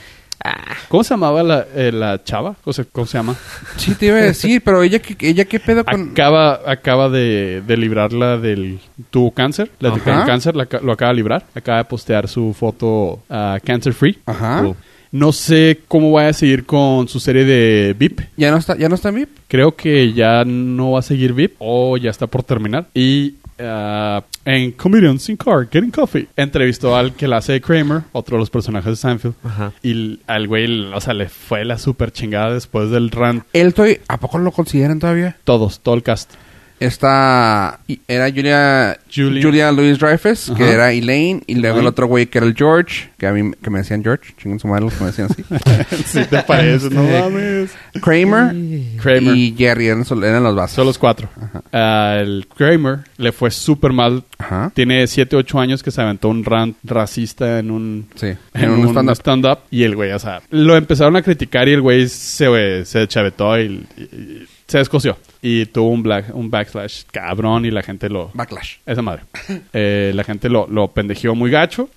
[SPEAKER 4] ¿Cómo se llamaba la, eh, la chava? O sea, ¿cómo se llama?
[SPEAKER 5] Sí, te iba a decir, pero ella, ¿qué- ella qué pedo con...
[SPEAKER 4] Acaba, acaba de, de librarla del... Tuvo cáncer, la
[SPEAKER 5] Ajá.
[SPEAKER 4] detectaron cáncer, la ca- lo acaba de librar. Acaba de postear su foto ah, cancer free.
[SPEAKER 5] Ajá.
[SPEAKER 4] Oh. No sé cómo vaya a seguir con su serie de VIP.
[SPEAKER 5] ¿Ya no está, ya no está VIP?
[SPEAKER 4] Creo que ya no va a seguir VIP o ya está por terminar. Y ah, en Comedians in Car, Getting Coffee, entrevistó al que la hace de Kramer, otro de los personajes de Seinfeld.
[SPEAKER 2] Ajá.
[SPEAKER 4] Y l- al güey, o sea, le fue la super chingada después del rant.
[SPEAKER 5] Él estoy... ¿A poco lo consideran todavía?
[SPEAKER 4] Todos, todo el cast.
[SPEAKER 5] Esta... y- Era Julia...
[SPEAKER 4] Julia.
[SPEAKER 5] Julia Louis Dreyfus, que
[SPEAKER 4] Ajá.
[SPEAKER 5] era Elaine. Y luego el
[SPEAKER 4] Elaine.
[SPEAKER 5] otro güey que era el George, que a mí... Que me decían George. Chingan su madre los que me decían así.
[SPEAKER 4] si te parece, no mames.
[SPEAKER 5] Kramer
[SPEAKER 4] Kramer.
[SPEAKER 5] y Jerry eran, sol- eran los vasos.
[SPEAKER 4] Son los cuatro. Al Ah, Kramer le fue súper mal.
[SPEAKER 5] Ajá.
[SPEAKER 4] Tiene 7, 8 años que se aventó un rant racista en un...
[SPEAKER 5] Sí.
[SPEAKER 4] En, un, stand-up. y el güey, o sea, lo empezaron a criticar y el güey se, se chavetó y, y- y se descoció. Y tuvo un, black, un backslash cabrón y la gente lo...
[SPEAKER 5] Backlash.
[SPEAKER 4] Esa madre. Eh, la gente lo, lo pendejió muy gacho.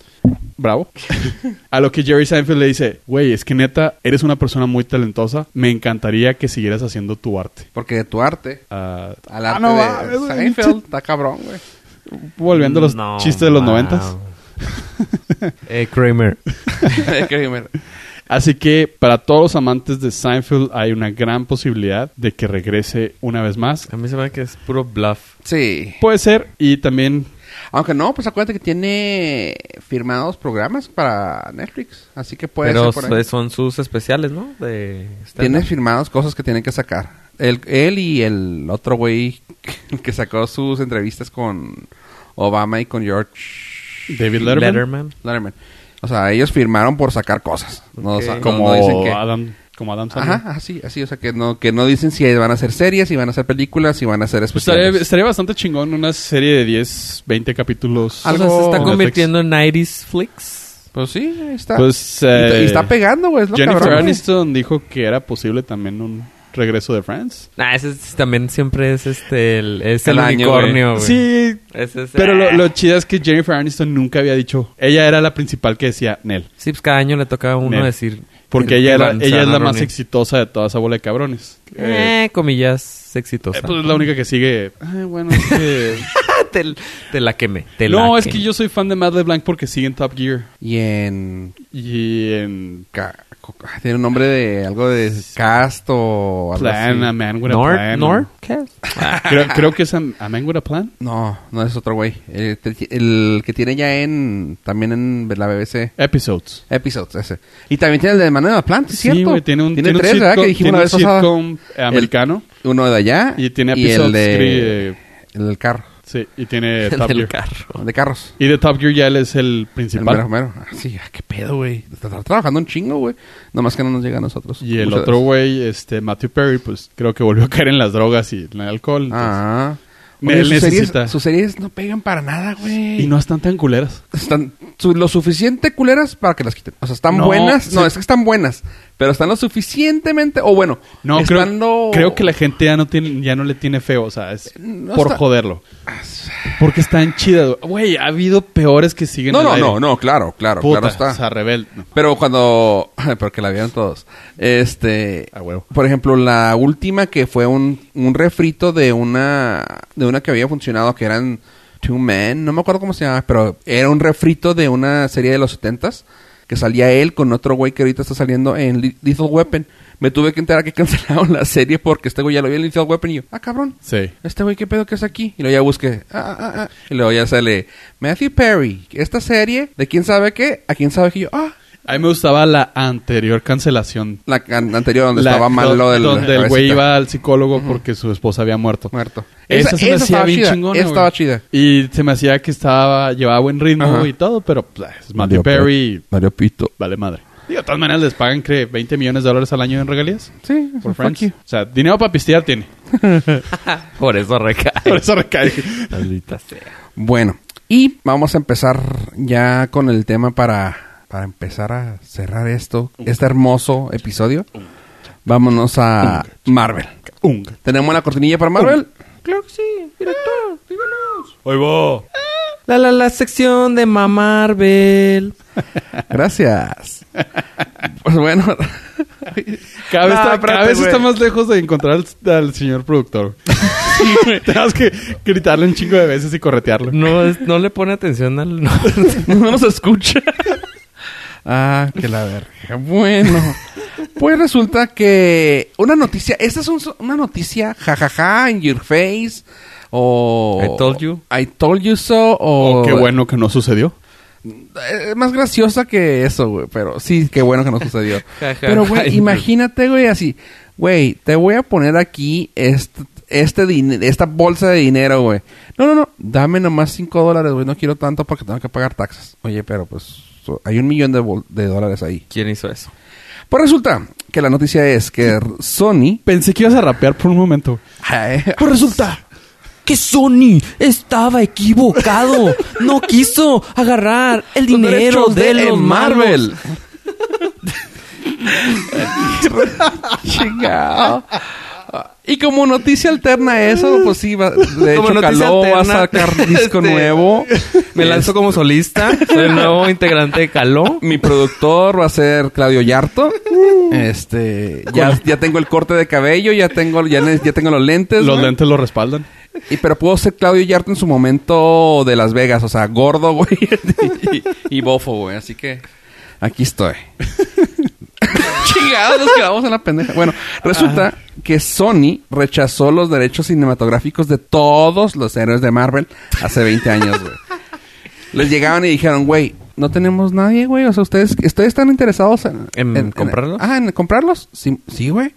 [SPEAKER 4] Bravo. A lo que Jerry Seinfeld le dice, güey, es que neta, eres una persona muy talentosa. Me encantaría que siguieras haciendo tu arte.
[SPEAKER 5] Porque de tu arte...
[SPEAKER 4] Ah,
[SPEAKER 5] Al
[SPEAKER 4] Ah,
[SPEAKER 5] arte
[SPEAKER 4] no
[SPEAKER 5] de
[SPEAKER 4] mames, güey.
[SPEAKER 5] Seinfeld. Está cabrón, güey.
[SPEAKER 4] volviendo a los
[SPEAKER 2] No,
[SPEAKER 4] chistes de los
[SPEAKER 2] wow.
[SPEAKER 4] noventas.
[SPEAKER 2] Eh, Kramer.
[SPEAKER 5] Kramer.
[SPEAKER 4] Así que para todos los amantes de Seinfeld hay una gran posibilidad de que regrese una vez más.
[SPEAKER 2] A mí se me hace que es puro bluff.
[SPEAKER 5] Sí.
[SPEAKER 4] Puede ser y también
[SPEAKER 5] Aunque no, pues acuérdate que tiene firmados programas para Netflix. Así que puede
[SPEAKER 2] Pero
[SPEAKER 5] ser por ahí.
[SPEAKER 2] son sus especiales, ¿no? De stand-up.
[SPEAKER 5] Tiene firmados cosas que tienen que sacar. Él, él y el otro güey que sacó sus entrevistas con Obama y con George
[SPEAKER 4] David Letterman,
[SPEAKER 2] Letterman.
[SPEAKER 5] Letterman. O sea, ellos firmaron por sacar cosas. No, o sea, no-
[SPEAKER 4] como
[SPEAKER 5] no dicen que...
[SPEAKER 4] Adam como Adam Sandler.
[SPEAKER 5] Ajá, así, así. O sea, que no, que no dicen si van a hacer series, si van a hacer películas, si van a hacer
[SPEAKER 4] Pues estaría,
[SPEAKER 5] especiales.
[SPEAKER 4] estaría bastante chingón una serie de 10, 20 capítulos.
[SPEAKER 5] Algo-
[SPEAKER 2] O sea, se está
[SPEAKER 5] Netflix.
[SPEAKER 2] convirtiendo en 90s flicks.
[SPEAKER 5] Pues sí, ahí está.
[SPEAKER 4] Pues,
[SPEAKER 5] y,
[SPEAKER 4] eh,
[SPEAKER 5] y está pegando, güey. es lo
[SPEAKER 4] Jennifer
[SPEAKER 5] cabrón, güey.
[SPEAKER 4] Aniston dijo que era posible también un regreso de Friends.
[SPEAKER 2] Nah, Ah, ese es- también siempre es este el, es el
[SPEAKER 5] El año,
[SPEAKER 2] unicornio, güey.
[SPEAKER 4] Sí,
[SPEAKER 2] Ese es-
[SPEAKER 4] pero lo,
[SPEAKER 2] ah.
[SPEAKER 4] lo chido es que Jennifer Aniston nunca había dicho. Ella era la principal que decía Nel.
[SPEAKER 2] Sí, pues cada año le tocaba a uno
[SPEAKER 4] Nel.
[SPEAKER 2] decir.
[SPEAKER 4] Porque
[SPEAKER 2] el-
[SPEAKER 4] ella,
[SPEAKER 2] el
[SPEAKER 4] era-
[SPEAKER 2] Anzana
[SPEAKER 4] ella es la más
[SPEAKER 2] Rooney.
[SPEAKER 4] exitosa de toda esa bola de cabrones. Eh,
[SPEAKER 2] Eh, comillas, exitosa.
[SPEAKER 4] eh, pues es la única que sigue. Ay, bueno, es que-
[SPEAKER 2] te, te la quemé. te la
[SPEAKER 4] no, es que
[SPEAKER 2] quemé.
[SPEAKER 4] yo soy fan de Matt LeBlanc porque sigue en Top Gear.
[SPEAKER 5] Y en
[SPEAKER 4] Y en
[SPEAKER 5] Ca- co- ah, Tiene un nombre de algo de cast o algo
[SPEAKER 4] Plan, A
[SPEAKER 5] así.
[SPEAKER 4] Man With a
[SPEAKER 2] ¿Nor?
[SPEAKER 4] Plan.
[SPEAKER 2] ¿Nor? ¿Qué?
[SPEAKER 4] Creo, creo que es a, a Man With a Plan.
[SPEAKER 5] No, no es otro güey. El, te- el que tiene ya en. También en la BBC.
[SPEAKER 4] Episodes.
[SPEAKER 5] Episodes, ese. Y también tiene el de Manuel de Plant, ¿cierto?
[SPEAKER 4] Sí, güey, tiene un, tiene un
[SPEAKER 5] tres, ¿verdad?
[SPEAKER 4] sitcom-
[SPEAKER 5] Que dijimos
[SPEAKER 4] tiene
[SPEAKER 5] la
[SPEAKER 4] un
[SPEAKER 5] vez pasada.
[SPEAKER 4] sitcom, eh, americano.
[SPEAKER 5] Uno de allá.
[SPEAKER 4] y tiene
[SPEAKER 5] Y el
[SPEAKER 4] episodios.
[SPEAKER 5] de.
[SPEAKER 4] eh,
[SPEAKER 5] El del carro.
[SPEAKER 4] sí, y tiene Top
[SPEAKER 2] Del
[SPEAKER 4] Gear.
[SPEAKER 2] carro.
[SPEAKER 5] el de carros.
[SPEAKER 4] Y de Top Gear ya él es el
[SPEAKER 5] El
[SPEAKER 4] principal.
[SPEAKER 5] mero, mero. Ah, sí, ah, qué pedo, güey. Está tra- trabajando un chingo, güey. Nomás que no nos llega a nosotros.
[SPEAKER 4] Y el
[SPEAKER 5] Muchas
[SPEAKER 4] otro
[SPEAKER 5] veces.
[SPEAKER 4] güey, este, Matthew Perry, pues creo que volvió a caer en las drogas y en el alcohol. entonces-
[SPEAKER 5] Ah.
[SPEAKER 4] Me-
[SPEAKER 5] Oye,
[SPEAKER 4] él
[SPEAKER 5] sus,
[SPEAKER 4] necesita.
[SPEAKER 5] series, sus series no pegan para nada, güey.
[SPEAKER 4] Y no están tan culeras.
[SPEAKER 5] están su- lo suficiente culeras para que las quiten. O sea, están
[SPEAKER 4] No,
[SPEAKER 5] buenas.
[SPEAKER 4] sí.
[SPEAKER 5] No, es que están buenas. Pero están lo suficientemente. O bueno,
[SPEAKER 4] No, creo,
[SPEAKER 5] están lo-
[SPEAKER 4] creo que la gente ya no, tiene, ya no le tiene feo, o sea, es
[SPEAKER 5] Eh, No
[SPEAKER 4] por
[SPEAKER 5] está- Ah,
[SPEAKER 4] joderlo. Porque están chidas, güey. Güey, ha habido peores que siguen
[SPEAKER 5] No,
[SPEAKER 4] al
[SPEAKER 5] no,
[SPEAKER 4] aire.
[SPEAKER 5] no, no, claro, claro,
[SPEAKER 4] Puta,
[SPEAKER 5] claro está.
[SPEAKER 4] o sea, rebelde.
[SPEAKER 5] Pero cuando. Porque la vieron todos. Este.
[SPEAKER 4] A huevo.
[SPEAKER 5] Por ejemplo, la última que fue un, un refrito de una. De una que había funcionado que eran. Two Men. No me acuerdo cómo se llamaba. Pero era un refrito de una serie de los setentas. Que salía él con otro güey que ahorita está saliendo en Li- Lethal Weapon. Me tuve que enterar que cancelaron la serie porque este güey ya lo vio en Lethal Weapon y yo, ah, cabrón.
[SPEAKER 4] Sí.
[SPEAKER 5] Este güey, ¿qué pedo que es aquí? Y luego ya busqué. Ah, ah, ah. Y luego ya sale Matthew Perry. Esta serie de quién sabe qué, a quién sabe qué. Y yo, ah,
[SPEAKER 4] A mí me gustaba la anterior cancelación.
[SPEAKER 5] la can- anterior donde
[SPEAKER 4] La-
[SPEAKER 5] estaba mal lo
[SPEAKER 4] do-
[SPEAKER 5] del
[SPEAKER 4] Donde el
[SPEAKER 5] cabecita.
[SPEAKER 4] güey iba al psicólogo porque su esposa había muerto.
[SPEAKER 5] muerto.
[SPEAKER 4] Esa, se me hacía
[SPEAKER 5] estaba
[SPEAKER 4] bien
[SPEAKER 5] chida,
[SPEAKER 4] chingona,
[SPEAKER 5] esa
[SPEAKER 4] güey.
[SPEAKER 5] estaba chida.
[SPEAKER 4] Y se me hacía que estaba, llevaba buen ritmo
[SPEAKER 5] Ajá.
[SPEAKER 4] y todo, pero pues, es Matthew Perry,
[SPEAKER 5] Mario Pito.
[SPEAKER 4] vale madre. Digo, de todas maneras les pagan, creo, 20 millones de dólares al año en regalías
[SPEAKER 5] Sí,
[SPEAKER 4] por
[SPEAKER 5] por
[SPEAKER 4] Friends. O sea, dinero para pistear tiene.
[SPEAKER 2] Por eso
[SPEAKER 4] Por
[SPEAKER 2] recae.
[SPEAKER 4] eso recae.
[SPEAKER 2] Maldita sea.
[SPEAKER 5] Bueno, y vamos a empezar ya con el tema para, para empezar a cerrar esto, este hermoso episodio. Vámonos a Marvel.
[SPEAKER 4] Un.
[SPEAKER 5] ¿Tenemos la cortinilla para Marvel?
[SPEAKER 2] Claro que sí, director, díganos.
[SPEAKER 4] Oye,
[SPEAKER 2] La la la sección de Mamarvel.
[SPEAKER 5] Gracias. Pues bueno.
[SPEAKER 4] Cada vez,
[SPEAKER 2] No,
[SPEAKER 4] está,
[SPEAKER 2] espérate,
[SPEAKER 4] cada vez
[SPEAKER 2] güey.
[SPEAKER 4] está más lejos de encontrar al, al señor productor. Sí, güey. Tenemos que gritarle un chingo de veces y corretearlo.
[SPEAKER 2] No, es- no le pone atención al... no.
[SPEAKER 5] no nos escucha. ah, que la verga. Bueno. Pues resulta que una noticia, esta es un- una noticia jajaja in your face o
[SPEAKER 2] I told you.
[SPEAKER 5] I told you so o
[SPEAKER 4] Oh, qué bueno que no sucedió.
[SPEAKER 5] Eh, más graciosa que eso, güey. Pero sí, qué bueno que no sucedió.
[SPEAKER 2] Ja, ja,
[SPEAKER 5] pero,
[SPEAKER 2] ja.
[SPEAKER 5] güey, imagínate, güey, así. Güey, te voy a poner aquí este, este din- esta bolsa de dinero, güey. No, no, no. Dame nomás 5 dólares, güey. No quiero tanto porque tengo que pagar taxas. Oye, pero pues so- hay un millón de, bol- de dólares ahí.
[SPEAKER 2] ¿Quién hizo eso?
[SPEAKER 5] Pues resulta que la noticia es que r- Sony... eh,
[SPEAKER 4] Pensé que ibas a rapear por un momento. Pues resulta.
[SPEAKER 2] Que Sony estaba equivocado. No quiso agarrar el
[SPEAKER 5] Los derechos Marvel. Chingado. Y como noticia alterna a eso, pues sí, va, de
[SPEAKER 2] Como
[SPEAKER 5] hecho
[SPEAKER 2] noticia
[SPEAKER 5] caló, va a
[SPEAKER 2] alterna,
[SPEAKER 5] sacar disco
[SPEAKER 2] este,
[SPEAKER 5] nuevo.
[SPEAKER 2] Me lanzo como solista. Soy el nuevo integrante de Caló.
[SPEAKER 5] Mi productor va a ser Claudio Yarto. Este, ya, ya tengo el corte de cabello, ya tengo, ya, ne- ya tengo los lentes.
[SPEAKER 4] Los
[SPEAKER 5] güey.
[SPEAKER 4] lentes lo respaldan.
[SPEAKER 5] Y, pero puedo ser Claudio Yarto en su momento de Las Vegas, o sea, gordo, güey, y, y- y bofo, güey. Así que aquí estoy. Chingados, nos quedamos en la pendeja. Bueno, resulta que Sony rechazó los derechos cinematográficos de todos los héroes de Marvel hace 20 años, güey. Les llegaban y dijeron, güey, no tenemos nadie, güey. O sea, ustedes, ustedes están interesados en,
[SPEAKER 2] ¿En comprarlos?
[SPEAKER 5] ah, en comprarlos. Sí, sí, güey.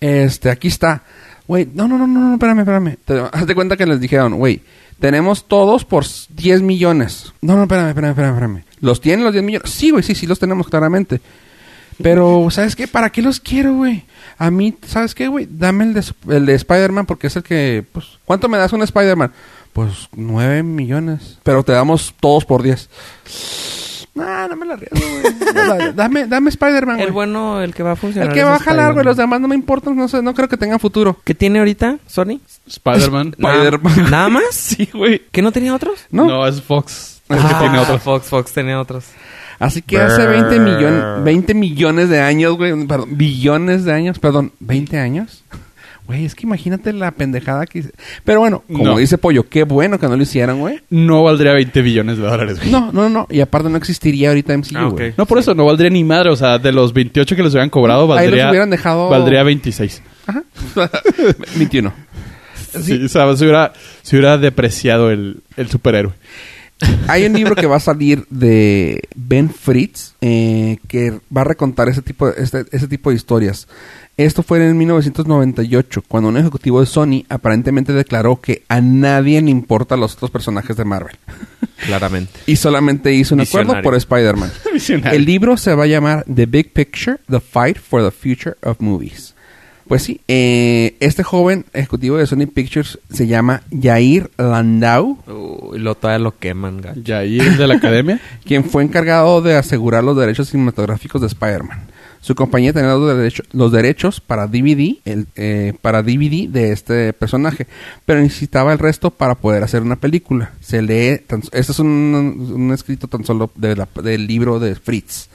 [SPEAKER 5] Este, aquí está. Güey, no, no, no, no, no, espérame, espérame. Te, hazte cuenta que les dijeron, güey, tenemos todos por 10 millones. No, no, espérame, espérame, espérame, espérame. ¿Los tienen los 10 millones? Sí, güey, sí, sí, los tenemos claramente. Pero, ¿sabes qué? ¿Para qué los quiero, güey? A mí, ¿sabes qué, güey? Dame el de, el de Spider-Man porque es el que, pues, ¿cuánto me das un Spider-Man? Pues nueve millones. Pero te damos todos por 10. No, no me la riego, güey. No la- Dame, dame Spider-Man, güey.
[SPEAKER 2] El bueno, el que va a funcionar.
[SPEAKER 5] El que
[SPEAKER 2] es
[SPEAKER 5] va a jalar,
[SPEAKER 2] Spider-Man.
[SPEAKER 5] güey. Los demás no me importan. No sé, no creo que tengan futuro.
[SPEAKER 2] ¿Qué tiene ahorita Sony?
[SPEAKER 4] Spider-Man.
[SPEAKER 5] Sp- Spider-Man.
[SPEAKER 2] ¿Nada, ¿Nada más? Sí,
[SPEAKER 5] güey.
[SPEAKER 2] ¿Que no tenía otros? Ah,
[SPEAKER 5] No. Ah.
[SPEAKER 4] No, es Fox.
[SPEAKER 5] Es
[SPEAKER 4] Es
[SPEAKER 5] que
[SPEAKER 4] que tiene otro.
[SPEAKER 2] Fox, Fox tenía otros.
[SPEAKER 5] Así que hace 20 millones, 20 millones de años, güey. Perdón, billones de años. Perdón, 20 años. Güey, es que imagínate la pendejada que hice. Pero bueno, como
[SPEAKER 4] No.
[SPEAKER 5] dice Pollo, qué bueno que no lo hicieron, güey.
[SPEAKER 4] No valdría 20 billones de dólares, güey.
[SPEAKER 5] No, no, no. Y aparte no existiría ahorita MCU,
[SPEAKER 2] Ah, ok.
[SPEAKER 5] güey.
[SPEAKER 4] No, por eso no valdría ni madre. O sea, de los 28 que les hubieran cobrado,
[SPEAKER 5] Ahí los
[SPEAKER 4] valdría.
[SPEAKER 5] hubieran dejado-
[SPEAKER 4] Valdría 26.
[SPEAKER 5] Ajá. 21.
[SPEAKER 4] Sí. o sea, se hubiera, se hubiera depreciado el, el superhéroe.
[SPEAKER 5] Hay un libro que va a salir de Ben Fritz eh, que va a recontar ese tipo, de- este- ese tipo de historias. Esto fue en 1998, cuando un ejecutivo de Sony aparentemente declaró que a nadie le importan los otros personajes de Marvel.
[SPEAKER 2] Claramente.
[SPEAKER 5] Y solamente hizo un acuerdo
[SPEAKER 2] Visionario.
[SPEAKER 5] por Spider-Man. El libro se va a llamar The Big Picture, The Fight for the Future of Movies. Pues sí, eh, este joven ejecutivo de Sony Pictures se llama Jair Landau.
[SPEAKER 2] Uy, lo todavía lo queman, gacho.
[SPEAKER 4] Yair de la academia.
[SPEAKER 5] quien fue encargado de asegurar los derechos cinematográficos de Spider-Man. Su compañía tenía los, derecho- los derechos para DVD, el, eh, para DVD de este personaje, pero necesitaba el resto para poder hacer una película. Se lee, tan- este es un, un escrito tan solo de la- del libro de Fritz.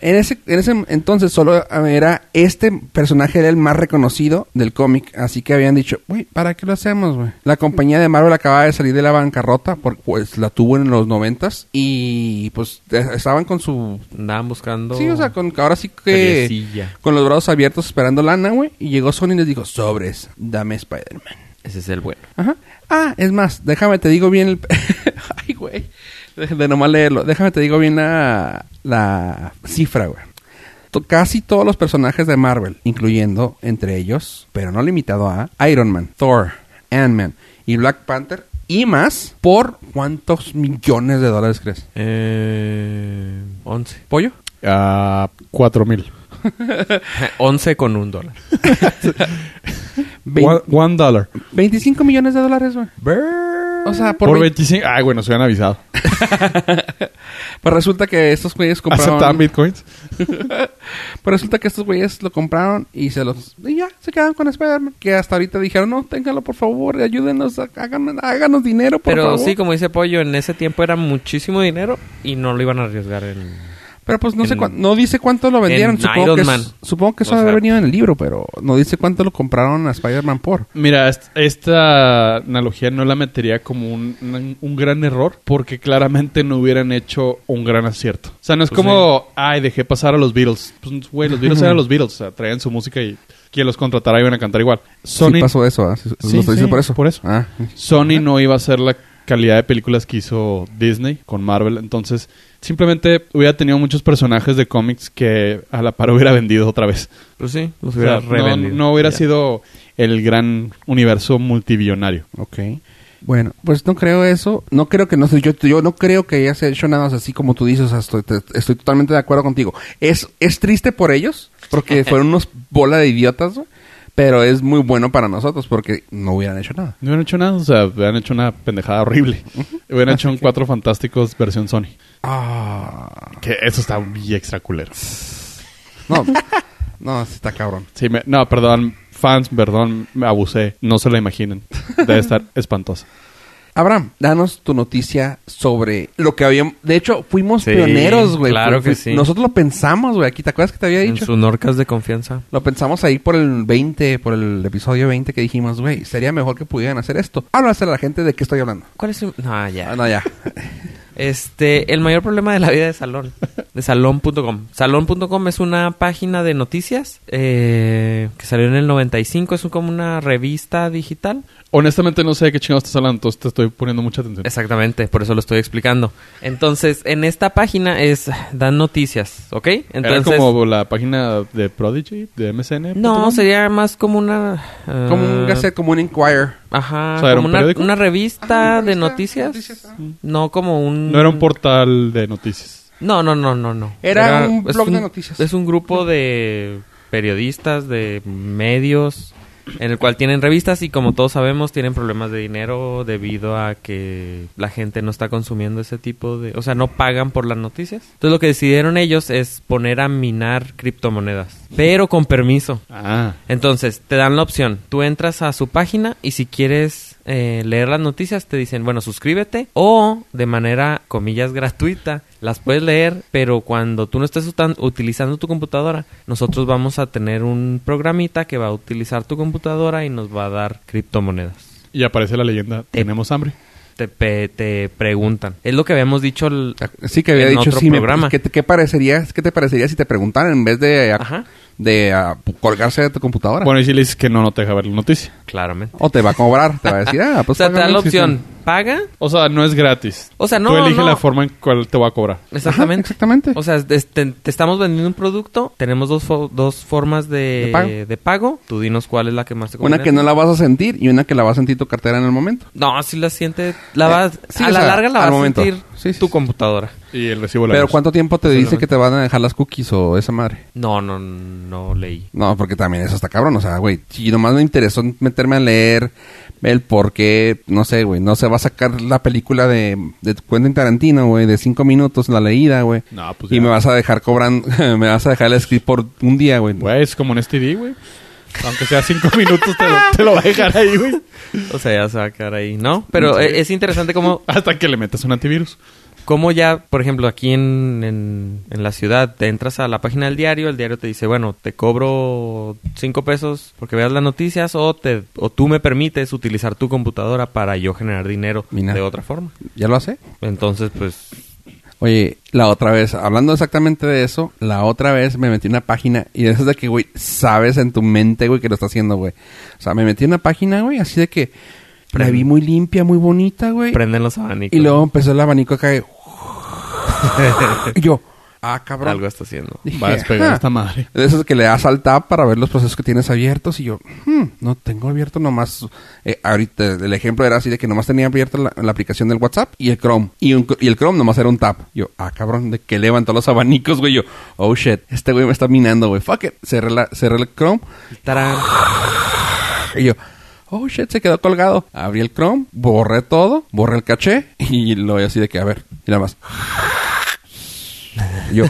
[SPEAKER 5] En ese, en ese entonces solo era este personaje era el más reconocido del cómic, así que habían dicho, güey, ¿para qué lo hacemos, güey? La compañía de Marvel acababa de salir de la bancarrota, por- pues la tuvo en los noventas y pues eh, estaban con su...
[SPEAKER 2] Andaban buscando.
[SPEAKER 5] Sí, o sea, con, ahora sí que...
[SPEAKER 2] Seriecilla.
[SPEAKER 5] Con los brazos abiertos esperando lana, güey, y llegó Sony y les dijo, sobres, dame Spider-Man.
[SPEAKER 2] Ese es el bueno.
[SPEAKER 5] Ajá. Ah, es más, déjame te digo bien el... Ay, güey. De, de nomás leerlo. Déjame te digo bien la, la cifra, güey. To- Casi todos los personajes de Marvel, incluyendo entre ellos, pero no limitado a Iron Man, Thor, Ant-Man y Black Panther y más, ¿por cuántos millones de dólares crees?
[SPEAKER 2] Eh, 11.
[SPEAKER 5] ¿Pollo?
[SPEAKER 4] A 4 mil.
[SPEAKER 2] 11 con un dólar.
[SPEAKER 5] Vein-
[SPEAKER 4] One- One dollar.
[SPEAKER 5] 25 millones de dólares, güey. O sea, por,
[SPEAKER 4] Por,
[SPEAKER 5] vein-
[SPEAKER 4] 25. Ah, bueno, se hubieran avisado.
[SPEAKER 5] pues resulta que estos güeyes compraron...
[SPEAKER 4] ¿Aceptaban bitcoins?
[SPEAKER 5] Pero Pues resulta que estos güeyes lo compraron y se los... Y ya, se quedan con Spider-Man. Que hasta ahorita dijeron, no, téngalo por favor, ayúdenos, háganos, háganos dinero, por
[SPEAKER 2] Pero
[SPEAKER 5] favor.
[SPEAKER 2] sí, como dice Pollo, en ese tiempo era muchísimo dinero y no lo iban a arriesgar en.
[SPEAKER 5] Pero pues no sé
[SPEAKER 2] En-
[SPEAKER 5] cuán- no dice cuánto lo vendieron.
[SPEAKER 2] en
[SPEAKER 5] Supongo
[SPEAKER 2] Iron
[SPEAKER 5] que, es-
[SPEAKER 2] Man.
[SPEAKER 5] supongo que eso
[SPEAKER 2] O
[SPEAKER 5] ha de
[SPEAKER 2] sea-
[SPEAKER 5] haber venido en el libro, pero no dice cuánto lo compraron a Spider-Man por.
[SPEAKER 4] Mira, est- esta analogía no la metería como un, un- un gran error porque claramente no hubieran hecho un gran acierto. O sea, no es
[SPEAKER 2] Pues
[SPEAKER 4] como, ay, dejé pasar a los Beatles. Pues, güey, los Beatles eran los Beatles. O sea, traían su música y quien los contratara iban a cantar igual. Sony,
[SPEAKER 5] Sí pasó eso, ¿ah? Sí,
[SPEAKER 4] Sí,
[SPEAKER 5] lo estoy diciendo
[SPEAKER 4] sí,
[SPEAKER 5] por eso.
[SPEAKER 4] por eso.
[SPEAKER 5] Ah.
[SPEAKER 4] Sony no iba a hacer la calidad de películas que hizo Disney con Marvel. Entonces, simplemente hubiera tenido muchos personajes de cómics que a la par hubiera vendido otra vez.
[SPEAKER 2] Pues sí, los
[SPEAKER 4] O sea,
[SPEAKER 2] hubiera
[SPEAKER 4] no,
[SPEAKER 2] revendido.
[SPEAKER 4] no hubiera
[SPEAKER 2] Ya.
[SPEAKER 4] sido el gran universo multibillonario.
[SPEAKER 5] Ok. Bueno, pues no creo eso. No creo que no sé. Yo, yo no creo que hayas hecho nada más así como tú dices. o sea, estoy, te- estoy totalmente de acuerdo contigo. Es, es triste por ellos, porque fueron unos bola de idiotas, güey, Pero es muy bueno para nosotros, porque no hubieran hecho nada.
[SPEAKER 4] No hubieran hecho nada, o sea, hubieran hecho una pendejada horrible. Hubieran hecho un Cuatro Fantásticos versión Sony.
[SPEAKER 5] Ah.
[SPEAKER 4] Que eso está bien extra culero.
[SPEAKER 5] No. no, sí está cabrón.
[SPEAKER 4] Sí, me- no, perdón, fans, perdón, me abusé. No se la imaginen. Debe estar espantosa.
[SPEAKER 5] Abraham, danos tu noticia sobre lo que habíamos... De hecho, fuimos
[SPEAKER 2] Sí,
[SPEAKER 5] pioneros, güey.
[SPEAKER 2] claro
[SPEAKER 5] Fu-
[SPEAKER 2] que
[SPEAKER 5] fu-
[SPEAKER 2] sí.
[SPEAKER 5] Nosotros lo pensamos, güey. Aquí, ¿te acuerdas que te había
[SPEAKER 2] En
[SPEAKER 5] dicho?
[SPEAKER 2] sus norcas de confianza.
[SPEAKER 5] Lo pensamos ahí por el 20, por el episodio 20 que dijimos, güey, sería mejor que pudieran hacer esto. Háblase a la gente de qué estoy hablando.
[SPEAKER 2] ¿Cuál es su...? No, ya.
[SPEAKER 5] Ah, no, ya.
[SPEAKER 2] Este, el mayor problema de la vida de Salón. De Salón.com. Salón.com es una página de noticias eh, que salió en el 95. Es un- como una revista digital.
[SPEAKER 4] Honestamente no sé de qué chingados estás hablando, entonces te estoy poniendo mucha atención.
[SPEAKER 2] Exactamente, por eso lo estoy explicando. Entonces, en esta página es dan noticias, ¿ok?
[SPEAKER 4] Era
[SPEAKER 2] Entonces,
[SPEAKER 4] como la página de Prodigy, de MSN.
[SPEAKER 2] no, sería más como una... ah,
[SPEAKER 5] Como un Gazette, como un Inquirer.
[SPEAKER 2] Ajá,
[SPEAKER 4] O sea, era
[SPEAKER 2] como
[SPEAKER 4] un
[SPEAKER 2] una,
[SPEAKER 4] periódico. Mm.
[SPEAKER 2] una revista
[SPEAKER 5] Ah, una
[SPEAKER 2] de
[SPEAKER 5] revista,
[SPEAKER 2] noticias.
[SPEAKER 5] noticias, ah.
[SPEAKER 2] No como un...
[SPEAKER 4] No era un portal de noticias.
[SPEAKER 2] No, no, no, no, no.
[SPEAKER 5] Era un
[SPEAKER 2] es
[SPEAKER 5] blog de noticias.
[SPEAKER 2] Es un grupo de periodistas, de medios, en el cual tienen revistas y como todos sabemos tienen problemas de dinero debido a que la gente no está consumiendo ese tipo de... O sea, no pagan por las noticias. Entonces lo que decidieron ellos es poner a minar criptomonedas, pero con permiso.
[SPEAKER 4] Ah.
[SPEAKER 2] Entonces, te dan la opción. Tú entras a su página y si quieres eh, leer las noticias, te dicen, bueno, suscríbete o de manera, comillas, gratuita, las puedes leer, pero cuando tú no estés utan- utilizando tu computadora, nosotros vamos a tener un programita que va a utilizar tu computadora y nos va a dar criptomonedas
[SPEAKER 4] Y aparece la leyenda, tenemos hambre.
[SPEAKER 2] te, pe- te preguntan. Es lo que habíamos dicho. el-
[SPEAKER 5] Sí, que había
[SPEAKER 2] En
[SPEAKER 5] dicho,
[SPEAKER 2] otro
[SPEAKER 5] sí, me-
[SPEAKER 2] programa.
[SPEAKER 5] ¿qué, te- qué parecería, ¿qué te parecería si te preguntaran en vez de, ah,
[SPEAKER 2] Ajá,
[SPEAKER 5] de ah, colgarse de tu computadora?
[SPEAKER 4] Bueno, y si le dices que no, no te deja ver la noticia.
[SPEAKER 2] claramente.
[SPEAKER 5] O te va a cobrar, te va a decir, ah,
[SPEAKER 2] O
[SPEAKER 5] pues...
[SPEAKER 2] sea, te dan
[SPEAKER 5] págame,
[SPEAKER 2] la
[SPEAKER 5] sí, sí.
[SPEAKER 2] opción, paga.
[SPEAKER 4] O sea, no es gratis.
[SPEAKER 2] O sea, no,
[SPEAKER 4] Tú eliges
[SPEAKER 2] no.
[SPEAKER 4] la forma en cual te va a cobrar.
[SPEAKER 5] Ajá,
[SPEAKER 2] Exactamente.
[SPEAKER 5] exactamente.
[SPEAKER 2] O sea, es- te, te estamos vendiendo un producto, tenemos dos, fo- dos formas de,
[SPEAKER 5] De pago.
[SPEAKER 2] pago. Tú dinos cuál es la que más te
[SPEAKER 5] una
[SPEAKER 2] conviene.
[SPEAKER 5] que no la vas a sentir y una que la va a sentir tu cartera en el momento.
[SPEAKER 2] No, si la sientes, la
[SPEAKER 5] Eh,
[SPEAKER 2] vas,
[SPEAKER 5] sí,
[SPEAKER 2] a
[SPEAKER 5] o
[SPEAKER 2] la
[SPEAKER 5] sea,
[SPEAKER 2] larga la vas
[SPEAKER 5] al momento.
[SPEAKER 2] a sentir
[SPEAKER 5] Sí, sí,
[SPEAKER 2] tu
[SPEAKER 5] sí.
[SPEAKER 2] computadora.
[SPEAKER 4] Y el recibo de la
[SPEAKER 5] Pero
[SPEAKER 4] luz.
[SPEAKER 5] ¿cuánto tiempo te dice
[SPEAKER 2] Solamente.
[SPEAKER 5] que te van a dejar las cookies o esa madre?
[SPEAKER 2] No, no, no leí.
[SPEAKER 5] No, porque también eso está cabrón. O sea, güey, si nomás me interesó meterme a leer el por qué, no sé, güey, no se va a sacar la película de, de Quentin Tarantino, güey, de cinco minutos la leída, güey.
[SPEAKER 4] No, pues
[SPEAKER 5] y
[SPEAKER 4] ya.
[SPEAKER 5] me vas a dejar cobrando, me vas a dejar el script por un día, güey.
[SPEAKER 4] Güey, es como en STD, güey. Aunque sea cinco minutos, te lo, te lo va a dejar ahí, güey.
[SPEAKER 2] O sea, ya se va a quedar ahí, ¿no? Pero eh, es interesante cómo
[SPEAKER 4] Hasta que le metas un antivirus.
[SPEAKER 2] Como ya, por ejemplo, aquí en, en- en la ciudad, te entras a la página del diario, el diario te dice, bueno, te cobro cinco pesos porque veas las noticias o, te, o tú me permites utilizar tu computadora para yo generar dinero
[SPEAKER 5] Mira.
[SPEAKER 2] de otra forma.
[SPEAKER 5] ¿Ya lo hace?
[SPEAKER 2] Entonces, pues,
[SPEAKER 5] Oye, la otra vez, hablando exactamente de eso, la otra vez me metí en una página y de esas de que, güey, sabes en tu mente, güey, que lo está haciendo, güey. O sea, me metí en una página, güey, así de que la vi muy limpia, muy bonita, güey.
[SPEAKER 2] prenden los abanicos.
[SPEAKER 5] Y luego empezó el abanico acá de... y yo, ah, cabrón.
[SPEAKER 2] Algo está haciendo.
[SPEAKER 5] Dije,
[SPEAKER 4] Va a despegar
[SPEAKER 5] "Ah".
[SPEAKER 4] esta madre.
[SPEAKER 5] De esos que le das al tab para ver los procesos que tienes abiertos. Y yo, "Hmm, no tengo abierto nomás. eh, ahorita el ejemplo era así de que nomás tenía abierta la, la aplicación del WhatsApp y el Chrome. Y, un- y el Chrome nomás era un tab. Yo, ah, cabrón, de que levantó los abanicos, güey. Yo, oh shit, este güey me está minando, güey. Fuck it. Cerré, la- cerré el Chrome.
[SPEAKER 2] Tarán.
[SPEAKER 5] Y yo, oh shit, se quedó colgado. Abrí el Chrome, borré todo, borré el caché y lo voy así de que, a ver, y nada más. Y Yo,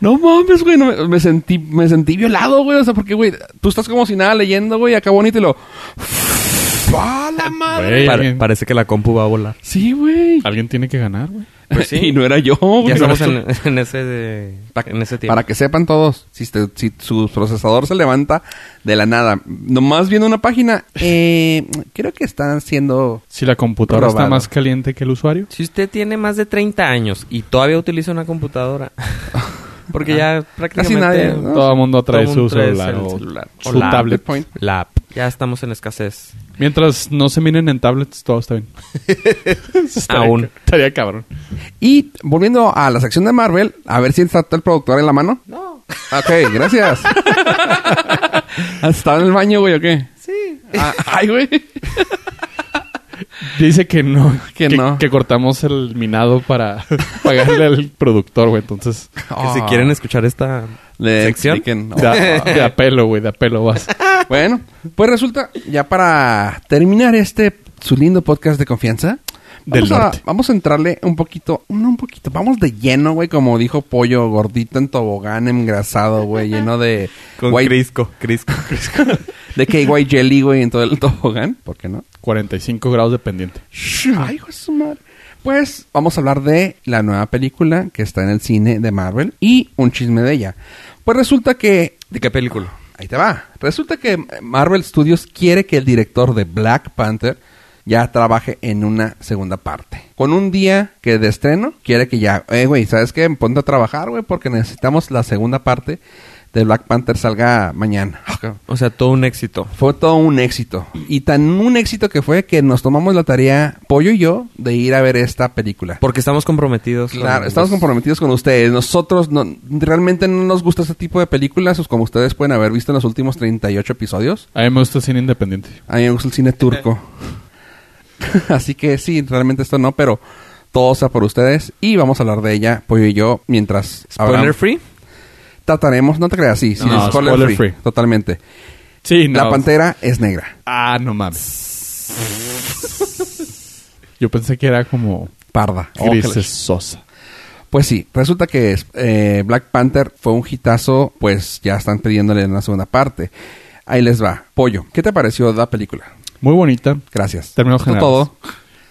[SPEAKER 5] no mames, güey, no me, me sentí, me sentí violado, güey, o sea, porque, güey, tú estás como si nada leyendo, güey, acá bonito y lo... ¡Ah, la madre!
[SPEAKER 4] Güey,
[SPEAKER 2] Pare-
[SPEAKER 4] alguien-
[SPEAKER 2] parece que la compu va a volar.
[SPEAKER 5] Sí, güey.
[SPEAKER 4] Alguien tiene que ganar, güey.
[SPEAKER 2] Pues sí.
[SPEAKER 5] Y no era yo, güey.
[SPEAKER 2] Ya
[SPEAKER 5] no
[SPEAKER 2] estamos
[SPEAKER 5] eras tú.
[SPEAKER 2] en, en ese, de- en ese tiempo.
[SPEAKER 5] Para que sepan todos, si, este- si su procesador se levanta de la nada, nomás viendo una página, eh, creo que están haciendo...
[SPEAKER 4] Si la computadora está
[SPEAKER 5] Robado.
[SPEAKER 4] más caliente que el usuario.
[SPEAKER 2] Si usted tiene más de 30 años y todavía utiliza una computadora, porque ya prácticamente
[SPEAKER 5] nadie, ¿no?
[SPEAKER 4] Todo el mundo trae
[SPEAKER 2] Todo
[SPEAKER 4] su
[SPEAKER 2] mundo trae
[SPEAKER 4] celular,
[SPEAKER 2] el
[SPEAKER 4] o
[SPEAKER 2] celular.
[SPEAKER 4] su
[SPEAKER 2] O la-
[SPEAKER 4] tablet.
[SPEAKER 5] Point.
[SPEAKER 2] la app. Ya estamos en escasez.
[SPEAKER 4] Mientras no se miren en tablets, todo está bien. Eso estaría
[SPEAKER 2] Aún.
[SPEAKER 4] ca- Estaría cabrón.
[SPEAKER 5] Y volviendo a la sección de Marvel, a ver si está el productor en la mano. No. Ok, gracias. ¿Estaba en el baño, güey, o qué? Sí. ay, güey.
[SPEAKER 4] Dice que no.
[SPEAKER 5] Que no.
[SPEAKER 4] Que cortamos el minado para pagarle al productor, güey. Entonces,
[SPEAKER 5] Ah.
[SPEAKER 2] Que si quieren escuchar esta
[SPEAKER 5] Le
[SPEAKER 2] sección,
[SPEAKER 5] expliquen.
[SPEAKER 4] de, a- de apelo, güey. De apelo vas.
[SPEAKER 5] Bueno, pues resulta, ya para terminar este su lindo podcast de confianza,
[SPEAKER 4] Del
[SPEAKER 5] vamos, a,
[SPEAKER 4] norte.
[SPEAKER 5] vamos a entrarle un poquito, no un poquito, vamos de lleno, güey, como dijo Pollo, gordito en tobogán, engrasado, güey, lleno de
[SPEAKER 2] con
[SPEAKER 5] white-
[SPEAKER 2] Crisco, Crisco.
[SPEAKER 5] de KY jelly, güey, en todo el tobogán, ¿por qué no?
[SPEAKER 4] 45 grados de pendiente.
[SPEAKER 5] Ay, hijo de su madre. Pues vamos a hablar de la nueva película que está en el cine de Marvel y un chisme de ella. Pues resulta que
[SPEAKER 2] ¿De qué película?
[SPEAKER 5] Ahí te va. Resulta que eh, Marvel Studios quiere que el director de Black Panther ya trabaje en una segunda parte. Con un día que de estreno, quiere que ya, eh, güey, ¿sabes qué? Ponte a trabajar, güey, porque necesitamos la segunda parte de Black Panther salga mañana.
[SPEAKER 2] O sea, todo un éxito.
[SPEAKER 5] Fue todo un éxito. Y tan un éxito que fue que nos tomamos la tarea, Pollo y yo, de ir a ver esta película.
[SPEAKER 2] Porque estamos comprometidos. con
[SPEAKER 5] Claro,
[SPEAKER 2] los-
[SPEAKER 5] estamos comprometidos con ustedes. Nosotros no- realmente no nos gusta este tipo de películas, pues, como ustedes pueden haber visto en los últimos 38 episodios.
[SPEAKER 4] A mí me gusta el cine independiente.
[SPEAKER 5] A mí me gusta el cine turco. Así que sí, realmente esto no, pero todo sea por ustedes. Y vamos a hablar de ella, Pollo y yo, mientras
[SPEAKER 2] ¿Spoiler
[SPEAKER 5] hablamos.
[SPEAKER 2] free?
[SPEAKER 5] Trataremos, no te creas, sí, sí,
[SPEAKER 4] No,
[SPEAKER 5] es spoiler,
[SPEAKER 4] spoiler
[SPEAKER 5] free,
[SPEAKER 4] free.
[SPEAKER 5] Totalmente.
[SPEAKER 4] Sí, no.
[SPEAKER 5] La pantera es negra.
[SPEAKER 4] Ah, no mames. Yo pensé que era como
[SPEAKER 5] Parda.
[SPEAKER 4] Gris
[SPEAKER 5] Ojalá.
[SPEAKER 4] Sosa.
[SPEAKER 5] Pues sí, resulta que eh, Black Panther fue un hitazo, pues ya están pidiéndole en la segunda parte. Ahí les va. Pollo, ¿qué te pareció la película?
[SPEAKER 4] Muy bonita.
[SPEAKER 5] Gracias.
[SPEAKER 4] Terminó
[SPEAKER 5] Fue
[SPEAKER 4] general.
[SPEAKER 5] todo.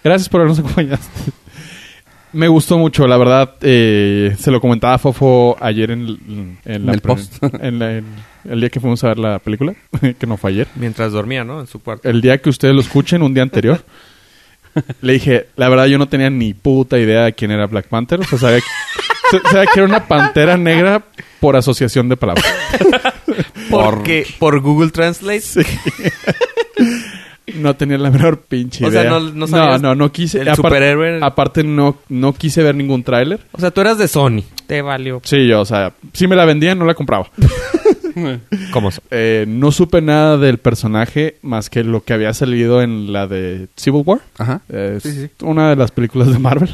[SPEAKER 4] Gracias por habernos acompañado. Me gustó mucho, la verdad. eh, se lo comentaba a Fofo ayer en, en la
[SPEAKER 5] En el
[SPEAKER 4] pre-
[SPEAKER 5] post.
[SPEAKER 4] en la- en el día que fuimos a ver la película, que no fue ayer.
[SPEAKER 2] Mientras dormía, ¿no? En su cuarto.
[SPEAKER 4] el día que ustedes lo escuchen, un día anterior, le dije, la verdad yo no tenía ni puta idea de quién era Black Panther. O sea, sabía que, sa- sabía que era una pantera negra por asociación de palabras.
[SPEAKER 2] Porque por Google Translate.
[SPEAKER 4] No tenía la menor pinche
[SPEAKER 2] O
[SPEAKER 4] idea.
[SPEAKER 2] sea, no- no sabías
[SPEAKER 4] no, no quise.
[SPEAKER 2] el
[SPEAKER 4] apar-
[SPEAKER 2] superhéroe.
[SPEAKER 4] Aparte, no, no quise ver ningún tráiler.
[SPEAKER 2] O sea, tú eras de Sony. Te valió.
[SPEAKER 4] Sí, yo, o sea, si me la vendían, no la compraba.
[SPEAKER 2] ¿Cómo son?
[SPEAKER 4] Eh, no supe nada del personaje más que lo que había salido en la de Civil War.
[SPEAKER 5] Ajá.
[SPEAKER 4] Es
[SPEAKER 5] Sí, sí.
[SPEAKER 4] una de las películas de Marvel.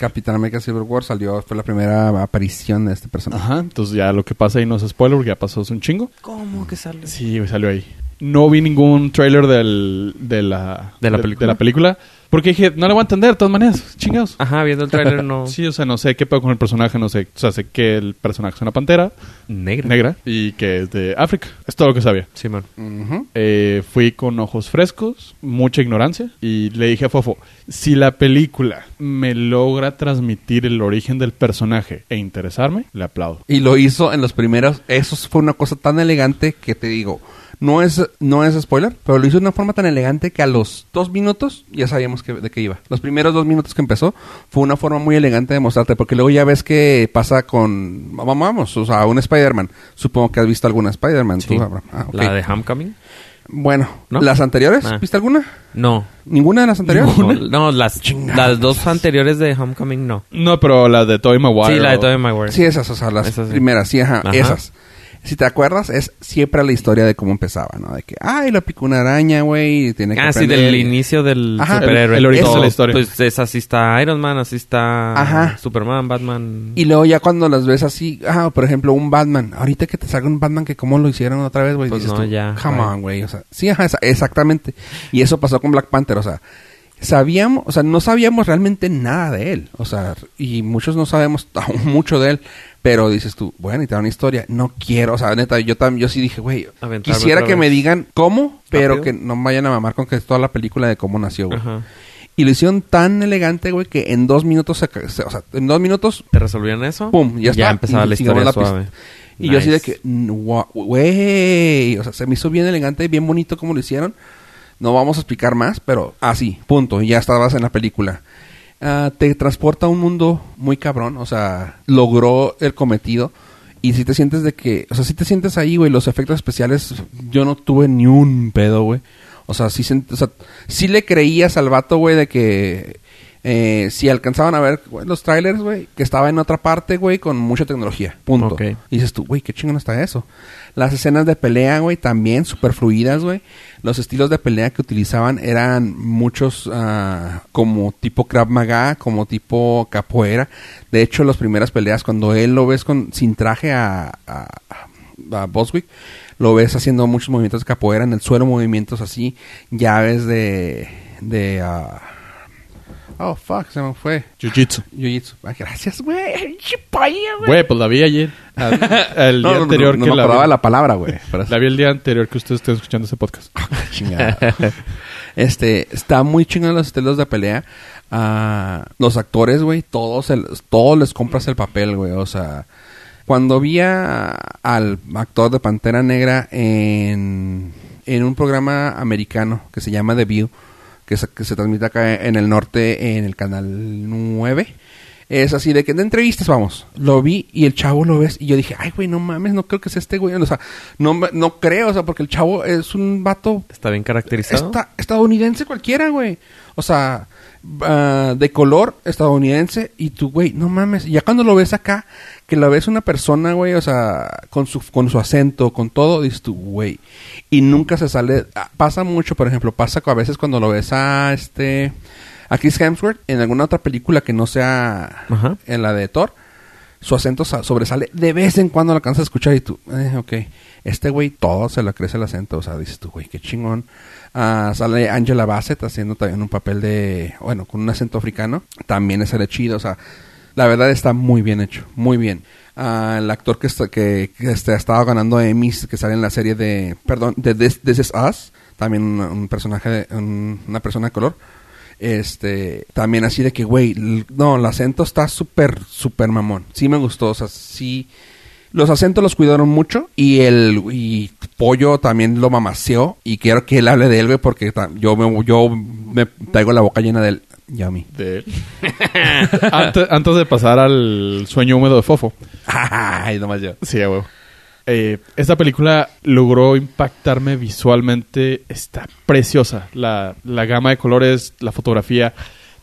[SPEAKER 5] Capitán América Civil War salió, fue la primera aparición de este personaje.
[SPEAKER 4] Ajá, entonces ya lo que pasa ahí no es spoiler porque ya pasó hace un chingo.
[SPEAKER 2] ¿Cómo que sale?
[SPEAKER 4] Sí, güey, salió ahí. No vi ningún trailer del, de, la,
[SPEAKER 2] ¿De la película?
[SPEAKER 4] película, Porque dije, no la voy a entender, de todas maneras, chingados.
[SPEAKER 2] Ajá, viendo el tráiler no.
[SPEAKER 4] Sí, o sea, no sé qué pedo con el personaje, no sé. O sea, sé que el personaje es una pantera
[SPEAKER 2] Negra.
[SPEAKER 4] negra y que es de África. Es todo lo que sabía.
[SPEAKER 2] Simón.
[SPEAKER 5] Ujú.
[SPEAKER 4] Eh, fui con ojos frescos, mucha ignorancia, y le dije a Fofo, si la película me logra transmitir el origen del personaje e interesarme, le aplaudo.
[SPEAKER 5] Y lo hizo en los primeros. Eso fue una cosa tan elegante que te digo. No es, no es spoiler, pero lo hizo de una forma tan elegante que a los dos minutos ya sabíamos que- de qué iba. Los primeros dos minutos que empezó fue una forma muy elegante de mostrarte, porque luego ya ves que pasa con. Vamos, vamos, o sea, un Spider-Man. Supongo que has visto alguna Spider-Man.
[SPEAKER 2] Sí.
[SPEAKER 5] tú, Abraham. Ah, ok.
[SPEAKER 2] La de Homecoming.
[SPEAKER 5] Bueno,
[SPEAKER 2] ¿No?
[SPEAKER 5] ¿las anteriores?
[SPEAKER 2] Ah.
[SPEAKER 5] ¿Viste alguna?
[SPEAKER 2] No.
[SPEAKER 5] ¿Ninguna de las anteriores?
[SPEAKER 2] No, no, las, las dos anteriores de Homecoming no.
[SPEAKER 4] No, pero la de Tobey Maguire.
[SPEAKER 2] Sí, la de
[SPEAKER 4] o-
[SPEAKER 2] Tobey Maguire.
[SPEAKER 5] Sí, esas, o sea, las
[SPEAKER 2] Esas sí.
[SPEAKER 5] primeras, sí, ajá,
[SPEAKER 2] Ajá.
[SPEAKER 5] esas. Si te acuerdas, es siempre la historia de cómo empezaba, ¿no? De que, ay, lo picó una araña, güey, y tiene que
[SPEAKER 2] Ah, sí,
[SPEAKER 5] aprender".
[SPEAKER 2] del inicio del
[SPEAKER 5] Ajá.
[SPEAKER 2] superhéroe.
[SPEAKER 4] El- el origen
[SPEAKER 2] Todo,
[SPEAKER 4] de la historia.
[SPEAKER 2] Pues es, así está Iron Man, así está
[SPEAKER 5] Ajá.
[SPEAKER 2] Superman, Batman.
[SPEAKER 5] Y luego ya cuando las ves así, ah, por ejemplo, un Batman. Ahorita que te salga un Batman que cómo lo hicieron otra vez, güey.
[SPEAKER 2] Pues
[SPEAKER 5] dices
[SPEAKER 2] no,
[SPEAKER 5] tú,
[SPEAKER 2] ya,
[SPEAKER 5] Come
[SPEAKER 2] bye".
[SPEAKER 5] on, güey. O sea, sí, ajá, esa- exactamente. Y eso pasó con Black Panther, o sea. Sabíamos, o sea, no sabíamos realmente nada de él. O sea, y muchos no sabemos aún mucho de él. Pero dices tú, voy a necesitar una historia. No quiero, o sea, neta, yo también, yo sí dije, güey,
[SPEAKER 2] Aventarme
[SPEAKER 5] quisiera
[SPEAKER 2] otra
[SPEAKER 5] que
[SPEAKER 2] vez.
[SPEAKER 5] me digan cómo, pero
[SPEAKER 2] Rápido.
[SPEAKER 5] que no me vayan a mamar con que es toda la película de cómo nació, güey.
[SPEAKER 2] Ajá.
[SPEAKER 5] Y lo hicieron tan elegante, güey, que en dos minutos, se ca- se- o sea, en dos minutos,
[SPEAKER 2] ¿Te resolvían eso?
[SPEAKER 5] pum, ya está.
[SPEAKER 2] Ya empezaba
[SPEAKER 5] Y
[SPEAKER 2] la
[SPEAKER 5] sigamos
[SPEAKER 2] historia
[SPEAKER 5] la
[SPEAKER 2] suave.
[SPEAKER 5] y yo así de
[SPEAKER 2] Nice.
[SPEAKER 5] que, mm, gua- güey, o sea, se me hizo bien elegante, bien bonito como lo hicieron. No vamos a explicar más, pero así, punto, y ya estabas en la película. Ah, te transporta a un mundo muy cabrón, o sea, logró el cometido. Y si te sientes de que, o sea, si te sientes ahí, güey, los efectos especiales, yo no tuve ni un pedo, güey. O sea, sí, sent- o sea, sí le creías al vato, güey, de que eh, si alcanzaban a ver güey, los trailers, güey, que estaba en otra parte, güey, con mucha tecnología. Punto.
[SPEAKER 4] Ok.
[SPEAKER 5] Y dices tú, güey, qué chingón está eso. Las escenas de pelea, güey, también súper fluidas, güey. Los estilos de pelea que utilizaban eran muchos ah, como tipo Krav Maga, como tipo capoeira. De hecho, las primeras peleas, cuando él lo ves con, sin traje a, a, a Boswick, lo ves haciendo muchos movimientos de capoeira en el suelo, movimientos así, llaves de... de ah, oh, fuck, se me fue.
[SPEAKER 4] Jiu-Jitsu.
[SPEAKER 5] Jiu-Jitsu. Ah, Gracias, güey. Chipaya, güey. Ah,
[SPEAKER 4] Güey, pues la vi ayer. el
[SPEAKER 5] No,
[SPEAKER 4] día
[SPEAKER 5] no,
[SPEAKER 4] anterior
[SPEAKER 5] no,
[SPEAKER 4] que
[SPEAKER 5] no me
[SPEAKER 4] la,
[SPEAKER 5] acordaba
[SPEAKER 4] vi.
[SPEAKER 5] la palabra, güey. Pero-
[SPEAKER 4] La vi el día anterior que ustedes estén escuchando ese podcast.
[SPEAKER 5] Chingada. este, está muy chingón los estilos de pelea. Ah, los actores, güey, todos, el- todos les compras el papel, güey. O sea, cuando vi a- al actor de Pantera Negra en, en un programa americano que se llama The View, que se, que se transmite acá en el norte, en el canal 9. Es así de que de entrevistas vamos. Lo vi y el chavo lo ves y yo dije, ay, güey, no mames, no creo que sea este güey. O sea, no, me- no creo, o sea, porque el chavo es un vato
[SPEAKER 2] ¿Está bien caracterizado?
[SPEAKER 5] Esta- estadounidense cualquiera, güey. O sea, ah, de color estadounidense y tú, güey, no mames. Ya cuando lo ves acá, que la ves una persona, güey, o sea, con su, con su acento, con todo, dices tú, güey. Y nunca se sale. ah, Pasa mucho, por ejemplo, pasa a veces cuando lo ves a este. A Chris Hemsworth en alguna otra película que no sea
[SPEAKER 2] Ajá.
[SPEAKER 5] en la de Thor su acento sa- sobresale de vez en cuando lo alcanzas a escuchar y tú, eh, ok, este güey todo se le crece el acento, o sea, dices tú, güey, qué chingón. Ah, sale Angela Bassett haciendo también un papel de, bueno, con un acento africano, también es chido, o sea, la verdad está muy bien hecho, muy bien. Ah, el actor que, está, que, que este, ha estado ganando Emmys, que sale en la serie de, perdón, de This, This Is Us, también un, un personaje, de- un- una persona de color. Este, también así de que, güey, l- no, el acento está súper, súper mamón. Sí me gustó, o sea, sí. Los acentos los cuidaron mucho y el y pollo también lo mamaseó. Y quiero que él hable de él, güey, porque ta- yo me, yo me traigo la boca llena de él. Yummy.
[SPEAKER 4] De él. antes, antes de pasar al sueño húmedo de Fofo.
[SPEAKER 5] Ay, nomás yo.
[SPEAKER 4] Sí, a huevo. Eh, esta película logró impactarme visualmente. Está preciosa. La, la gama de colores, la fotografía.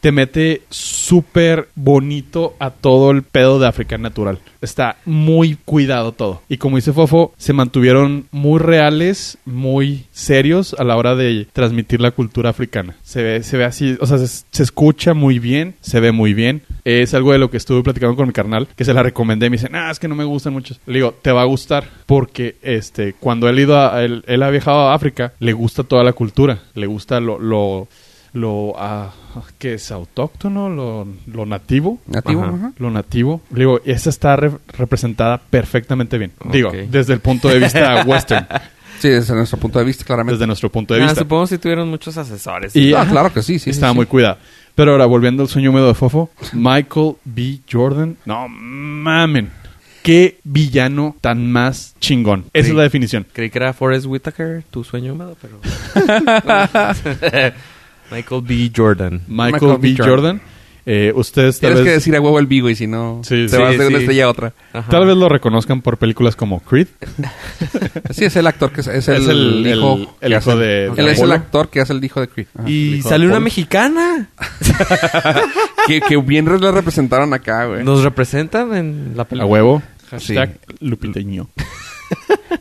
[SPEAKER 4] Te mete súper bonito a todo el pedo de África natural. Está muy cuidado todo. Y como dice Fofo, se mantuvieron muy reales, muy serios a la hora de transmitir la cultura africana. Se ve, se ve así, o sea, se, se escucha muy bien, se ve muy bien. Es algo de lo que estuve platicando con mi carnal, que se la recomendé. Me dice, ah, es que no me gustan muchos. Le digo, te va a gustar, porque este, cuando él, ido a- él, él ha viajado a África, le gusta toda la cultura, le gusta lo, lo, lo ah, que es autóctono, lo, lo nativo
[SPEAKER 5] Nativo,
[SPEAKER 2] Ajá.
[SPEAKER 5] ajá.
[SPEAKER 4] lo nativo. Le digo, esa está re- representada perfectamente bien.
[SPEAKER 2] Ok.
[SPEAKER 4] Digo, desde el punto de vista western,
[SPEAKER 5] Sí, desde nuestro punto de vista, claramente.
[SPEAKER 4] desde nuestro punto de
[SPEAKER 2] Ah,
[SPEAKER 4] vista.
[SPEAKER 2] supongo si tuvieron muchos asesores.
[SPEAKER 4] Y-
[SPEAKER 5] Ah,
[SPEAKER 4] ajá.
[SPEAKER 5] claro que sí, sí.
[SPEAKER 4] Estaba
[SPEAKER 5] sí,
[SPEAKER 4] muy
[SPEAKER 5] sí.
[SPEAKER 4] cuidada. Pero ahora, volviendo al sueño húmedo de Fofo, Michael B. Jordan. No mamen. Qué villano tan más chingón. Esa
[SPEAKER 2] Sí.
[SPEAKER 4] es la definición.
[SPEAKER 2] Creí que era Forrest Whitaker, tu sueño húmedo, pero... Michael B. Jordan.
[SPEAKER 4] Michael,
[SPEAKER 5] Michael
[SPEAKER 4] B.
[SPEAKER 5] B.
[SPEAKER 4] Jordan.
[SPEAKER 5] Jordan.
[SPEAKER 4] eh, ustedes tal
[SPEAKER 5] Tienes que
[SPEAKER 4] vez,
[SPEAKER 5] decir a huevo el vivo y si no,
[SPEAKER 4] Sí,
[SPEAKER 5] te
[SPEAKER 4] sí,
[SPEAKER 5] vas de una
[SPEAKER 2] sí.
[SPEAKER 5] estrella a otra.
[SPEAKER 2] Ajá.
[SPEAKER 4] tal vez lo reconozcan por películas como Creed.
[SPEAKER 5] Sí, es el actor que es, es el,
[SPEAKER 4] Es el- el-
[SPEAKER 5] hijo.
[SPEAKER 4] el
[SPEAKER 5] que
[SPEAKER 4] hijo
[SPEAKER 5] hace-
[SPEAKER 4] de-
[SPEAKER 5] Él
[SPEAKER 4] de
[SPEAKER 5] es el
[SPEAKER 4] Apolo.
[SPEAKER 5] actor que hace el hijo de Creed. Ajá.
[SPEAKER 2] Y
[SPEAKER 4] Hijo de
[SPEAKER 2] salió una
[SPEAKER 4] Paul.
[SPEAKER 2] mexicana.
[SPEAKER 5] que, que bien la representaron acá, güey.
[SPEAKER 2] Nos representan en la
[SPEAKER 4] A
[SPEAKER 2] película.
[SPEAKER 4] hueño.
[SPEAKER 5] Sí.
[SPEAKER 4] Hashtag Lupiteño.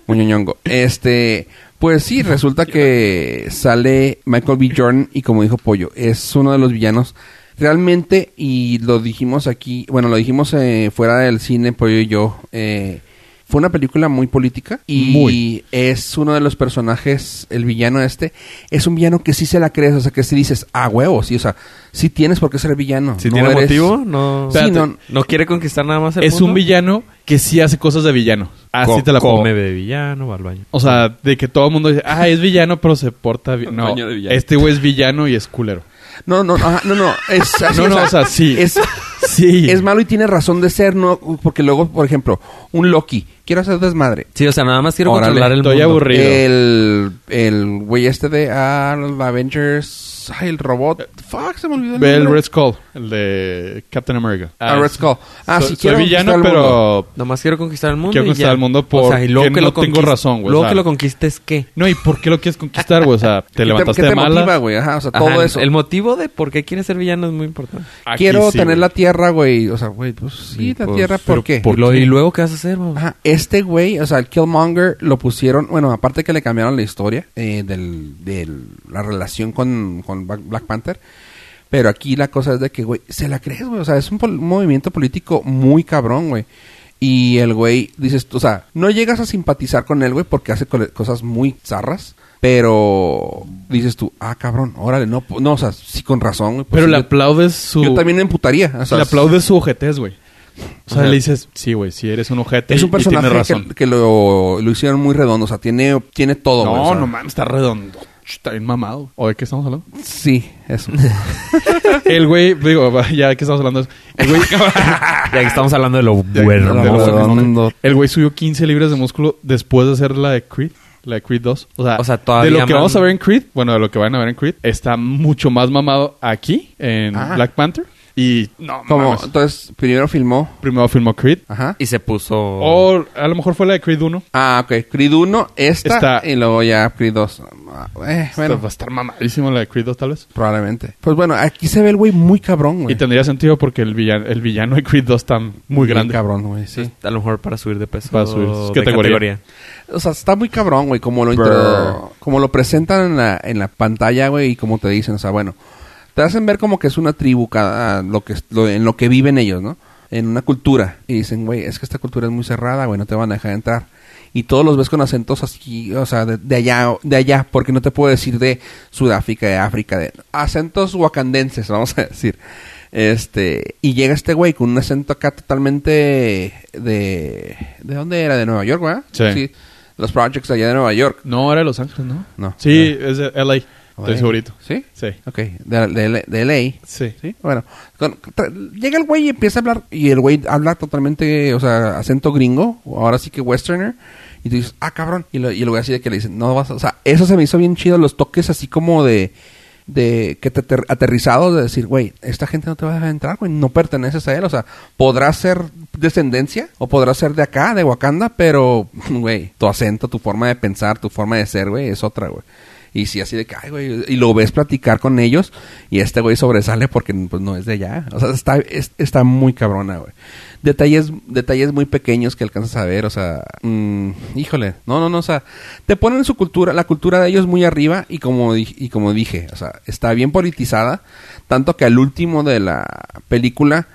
[SPEAKER 5] Muñoñongo. Este, pues sí, resulta que sale Michael B. Jordan y como dijo Pollo, es uno de los villanos. Realmente, y lo dijimos aquí, bueno, lo dijimos eh, fuera del cine, Pollo y yo, eh, Fue una película muy política y
[SPEAKER 4] Muy.
[SPEAKER 5] es uno de los personajes, el villano este, es un villano que sí se la crees, o sea, que sí dices, ah, huevos, sí, o sea, sí tienes por qué ser villano.
[SPEAKER 2] Si
[SPEAKER 5] no
[SPEAKER 2] tiene
[SPEAKER 5] eres-
[SPEAKER 2] motivo, no...
[SPEAKER 5] Sí,
[SPEAKER 4] Espérate.
[SPEAKER 5] no,
[SPEAKER 2] No quiere conquistar nada más el
[SPEAKER 4] Es
[SPEAKER 2] mundo.
[SPEAKER 4] un villano que sí hace cosas de villano. Así
[SPEAKER 2] Co-
[SPEAKER 4] te la pongo.
[SPEAKER 2] Come de villano, va al baño.
[SPEAKER 4] O sea, de que todo el mundo dice, ah, es villano, pero se porta bien. No,
[SPEAKER 2] Baño de villano.
[SPEAKER 4] este güey es villano y es culero.
[SPEAKER 5] no, no, no, ajá, no, no, es así,
[SPEAKER 4] No, no, o sea, sí.
[SPEAKER 5] Es,
[SPEAKER 4] Sí.
[SPEAKER 5] es malo y tiene razón de ser, ¿no? Porque luego, por ejemplo, un Loki, quiero hacer desmadre.
[SPEAKER 2] Sí, o sea, nada más quiero
[SPEAKER 5] Órale,
[SPEAKER 2] controlar el
[SPEAKER 4] estoy
[SPEAKER 2] mundo.
[SPEAKER 4] aburrido. Corrido.
[SPEAKER 5] El, el güey este de ah, los Avengers, ay, el robot, fuck, se me olvidó el
[SPEAKER 4] Ve el
[SPEAKER 5] nombre.
[SPEAKER 4] Red Skull, el de Captain America.
[SPEAKER 5] Ah, Red
[SPEAKER 4] sí.
[SPEAKER 5] Skull. Ah,
[SPEAKER 4] soy,
[SPEAKER 5] sí,
[SPEAKER 4] soy
[SPEAKER 5] quiero
[SPEAKER 4] villano,
[SPEAKER 5] conquistar el
[SPEAKER 4] pero...
[SPEAKER 2] Nada más quiero conquistar el mundo
[SPEAKER 4] Quiero
[SPEAKER 2] y
[SPEAKER 4] conquistar
[SPEAKER 2] ya.
[SPEAKER 4] el mundo
[SPEAKER 2] y
[SPEAKER 4] porque no tengo
[SPEAKER 2] conquist-
[SPEAKER 4] razón, güey, o
[SPEAKER 2] Luego
[SPEAKER 4] sea.
[SPEAKER 2] que lo conquistes, ¿qué?
[SPEAKER 4] No, ¿y por qué lo quieres conquistar, güey? O sea, te
[SPEAKER 5] ¿Qué
[SPEAKER 4] levantaste
[SPEAKER 5] qué
[SPEAKER 4] de mala.
[SPEAKER 5] motiva, güey? Ajá, o sea,
[SPEAKER 2] Ajá,
[SPEAKER 5] todo eso.
[SPEAKER 2] El motivo de por qué quieres ser villano es muy importante.
[SPEAKER 4] Aquí
[SPEAKER 5] Quiero
[SPEAKER 4] sí,
[SPEAKER 5] tener
[SPEAKER 4] güey.
[SPEAKER 5] la tierra, güey. O sea, güey, pues sí,
[SPEAKER 2] Sí,
[SPEAKER 5] la
[SPEAKER 2] pues,
[SPEAKER 5] tierra,
[SPEAKER 4] pero
[SPEAKER 5] ¿por qué?
[SPEAKER 4] ¿por
[SPEAKER 2] Y lo-
[SPEAKER 4] qué?
[SPEAKER 2] ¿Y luego qué vas a hacer, mamá?
[SPEAKER 5] Ajá, este güey, o sea, el Killmonger lo pusieron, bueno, aparte que le cambiaron la historia eh, del, del- la relación con, con Black Black Panther, pero aquí la cosa es de que, güey, se la crees, güey, o sea, es un, pol- un movimiento político muy cabrón, güey. Y el güey, dices, o sea, no llegas a simpatizar con él, güey, porque hace cole- cosas muy zarras, pero dices tú, ah, cabrón, órale, no, po- no, o sea, sí con razón, güey. pues
[SPEAKER 4] Pero
[SPEAKER 5] sí,
[SPEAKER 4] le
[SPEAKER 5] yo-
[SPEAKER 4] aplaudes su...
[SPEAKER 5] yo, también me emputaría, o sea,
[SPEAKER 4] le aplaudes su ojetez, güey. O sea,
[SPEAKER 5] Ajá.
[SPEAKER 4] le dices, sí, güey, sí eres un ojete
[SPEAKER 5] Es un
[SPEAKER 4] y- y tienes
[SPEAKER 5] personaje
[SPEAKER 4] razón.
[SPEAKER 5] que, que lo, lo hicieron muy redondo, o sea, tiene, tiene todo. güey, o
[SPEAKER 4] No,
[SPEAKER 5] sea.
[SPEAKER 4] no mames, está redondo. Está bien mamado. ¿O de qué estamos hablando?
[SPEAKER 5] Sí, eso.
[SPEAKER 4] El güey, digo, ya que estamos hablando de eso. El güey,
[SPEAKER 2] Ya que estamos hablando de lo
[SPEAKER 4] bueno.
[SPEAKER 5] Lo redondo.
[SPEAKER 4] el güey subió 15 libras de músculo después de hacer la de Creed. La de Creed 2. O sea,
[SPEAKER 2] O sea, todavía
[SPEAKER 4] de lo que
[SPEAKER 2] man-
[SPEAKER 4] vamos a ver en Creed, bueno, de lo que van a ver en Creed, está mucho más mamado aquí, en
[SPEAKER 5] Ah.
[SPEAKER 4] Black Panther. Y no,
[SPEAKER 5] Como,
[SPEAKER 4] mames.
[SPEAKER 5] entonces, primero filmó.
[SPEAKER 4] Primero filmó Creed.
[SPEAKER 5] Ajá.
[SPEAKER 2] Y se puso...
[SPEAKER 4] O a lo mejor fue la de Creed 1.
[SPEAKER 5] Ah, ok. Creed 1, esta,
[SPEAKER 4] Está-
[SPEAKER 5] y luego ya Creed 2. Ah, eh, bueno,
[SPEAKER 4] Esta va a estar mamadísimo la de Creed 2, tal vez.
[SPEAKER 5] probablemente. Pues bueno, aquí se ve el güey muy cabrón, güey.
[SPEAKER 4] Y tendría sentido porque el villano, el villano de Creed 2 está muy grande.
[SPEAKER 5] cabrón, güey, sí.
[SPEAKER 2] A lo mejor para subir de peso.
[SPEAKER 4] Para subir.
[SPEAKER 2] de
[SPEAKER 4] Categoría.
[SPEAKER 5] O sea, está muy cabrón, güey, como lo
[SPEAKER 4] Brr.
[SPEAKER 5] intro- como lo presentan en la, en la pantalla, güey, y como te dicen, o sea, bueno, te hacen ver como que es una tribu cada, lo que es- lo- en lo que viven ellos, ¿no? En una cultura y dicen, güey, es que esta cultura es muy cerrada, güey, no te van a dejar entrar. Y todos los ves con acentos aquí, o sea, de, de allá, de allá, porque no te puedo decir de Sudáfrica, de África, de acentos wakandenses, vamos a decir. Este, y llega este güey con un acento acá totalmente de ¿de dónde era? De Nueva York, ¿verdad?
[SPEAKER 4] Sí.
[SPEAKER 5] Los projects allá de Nueva York.
[SPEAKER 4] No, era de Los Ángeles, ¿no?
[SPEAKER 5] No.
[SPEAKER 4] Sí, es de LA. Estoy
[SPEAKER 5] Oye.
[SPEAKER 4] segurito.
[SPEAKER 5] ¿Sí?
[SPEAKER 4] Sí.
[SPEAKER 5] Ok, de, de, de LA.
[SPEAKER 4] Sí.
[SPEAKER 5] Sí, bueno. Con- tra- llega el güey y empieza a hablar. Y el güey habla totalmente, o sea, acento gringo. o Ahora sí que westerner. Y tú dices, ah, cabrón. Y, lo, y el güey así de que le dicen, no vas a. O sea, eso se me hizo bien chido. Los toques así como de. De que te ater- aterrizado de decir, güey, esta gente no te va a dejar entrar, güey, no perteneces a él. O sea, podrás ser descendencia o podrás ser de acá, de Wakanda, pero, güey, tu acento, tu forma de pensar, tu forma de ser, güey, es otra, güey. Y sí, así de que, ay, güey, y lo ves platicar con ellos y este güey sobresale porque pues, no es de allá. O sea, está, es- está muy cabrona, güey. Detalles, detalles muy pequeños que alcanzas a ver, o sea, mm, híjole, no, no, no, o sea, te ponen su cultura, la cultura de ellos muy arriba y como, di- y como dije, o sea, está bien politizada, tanto que al último de la película...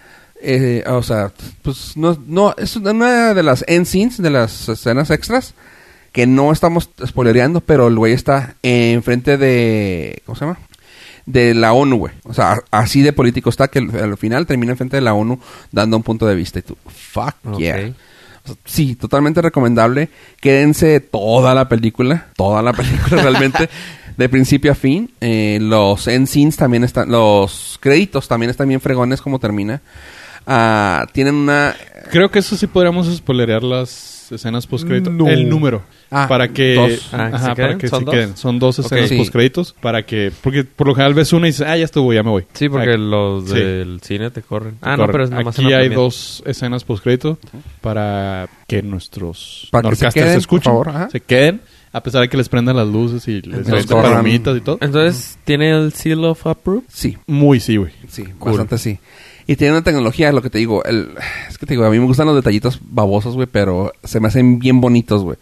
[SPEAKER 5] eh, o sea, pues no, no, es una de las end scenes, de las escenas extras, que no estamos spoilereando, pero el güey está enfrente de. ¿Cómo se llama? De la ONU, güey. O sea, a- así de político está que al final termina enfrente de la ONU dando un punto de vista. Y tú, fuck
[SPEAKER 2] Ok.
[SPEAKER 5] yeah. O sea, Sí, totalmente recomendable. Quédense toda la película, toda la película realmente, de principio a fin. Eh, los end scenes también están, los créditos también están bien fregones como termina. Ah, tienen una
[SPEAKER 4] Creo que eso sí podríamos spoilerear las escenas postcréditos.
[SPEAKER 2] No.
[SPEAKER 4] El número.
[SPEAKER 5] Ah,
[SPEAKER 4] para que,
[SPEAKER 5] dos.
[SPEAKER 2] Ah, ¿que
[SPEAKER 4] ajá,
[SPEAKER 2] se
[SPEAKER 4] para
[SPEAKER 2] queden?
[SPEAKER 4] que
[SPEAKER 2] ¿Son
[SPEAKER 4] se
[SPEAKER 2] dos?
[SPEAKER 4] queden. Son dos escenas
[SPEAKER 2] Ok.
[SPEAKER 5] Sí.
[SPEAKER 4] postcréditos para que, porque por lo general ves una y dices, ah, ya estuvo, ya me voy.
[SPEAKER 2] Sí, porque
[SPEAKER 4] Aquí-
[SPEAKER 2] los
[SPEAKER 4] sí.
[SPEAKER 2] del cine te corren. Ah, no,
[SPEAKER 4] corre.
[SPEAKER 2] pero es nada más en
[SPEAKER 4] Aquí
[SPEAKER 2] la
[SPEAKER 4] hay
[SPEAKER 2] premiere.
[SPEAKER 4] dos escenas postcréditos para que nuestros
[SPEAKER 5] Para que se
[SPEAKER 4] norcasters
[SPEAKER 5] queden, por
[SPEAKER 4] escuchen,
[SPEAKER 5] favor, ajá.
[SPEAKER 4] se queden, a pesar de que les prendan las luces y
[SPEAKER 5] Los
[SPEAKER 4] les den
[SPEAKER 5] corran.
[SPEAKER 4] palomitas y todo.
[SPEAKER 2] Entonces, ¿tiene el seal of approve?
[SPEAKER 5] sí,
[SPEAKER 4] Muy sí, güey.
[SPEAKER 5] Sí, bastante sí. Y tiene una tecnología, lo que te digo, el, es que te digo, a mí me gustan los detallitos babosos, güey, pero se me hacen bien bonitos, güey.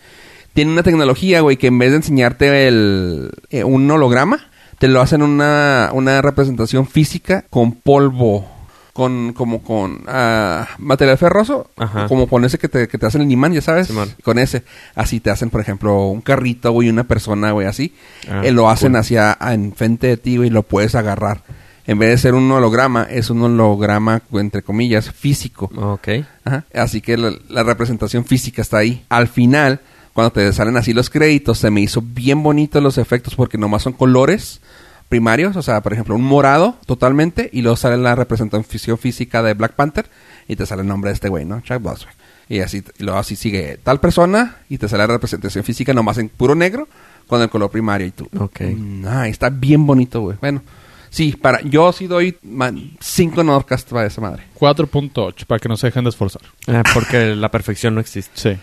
[SPEAKER 5] Tiene una tecnología, güey, que en vez de enseñarte el, eh, un holograma, te lo hacen una, una representación física con polvo, con como con ah, material ferroso,
[SPEAKER 2] Ajá.
[SPEAKER 5] como con ese que te, que te hacen el imán, ya sabes,
[SPEAKER 2] Simón.
[SPEAKER 5] con ese. Así te hacen, por ejemplo, un carrito, güey, una persona, güey, así.
[SPEAKER 2] Ah,
[SPEAKER 5] Eh, lo hacen
[SPEAKER 2] cool.
[SPEAKER 5] hacia a- enfrente de ti, güey, y lo puedes agarrar. En vez de ser un holograma, es un holograma, entre comillas, físico.
[SPEAKER 2] Ok.
[SPEAKER 5] Ajá. Así que la, la representación física está ahí. Al final, cuando te salen así los créditos, se me hizo bien bonito los efectos porque nomás son colores primarios. O sea, por ejemplo, un morado totalmente y luego sale la representación física de Black Panther y te sale el nombre de este güey, ¿no? Chuck Boswick. Y así, y luego así sigue tal persona y te sale la representación física nomás en puro negro con el color primario y tú.
[SPEAKER 2] Ok.
[SPEAKER 5] Mm, Ah, está bien bonito, güey. Bueno, sí, para, yo sí doy man, cinco Nordcast para esa madre.
[SPEAKER 4] 4.8 para que no se dejen de esforzar.
[SPEAKER 2] Ah, porque la perfección no existe.
[SPEAKER 4] Sí.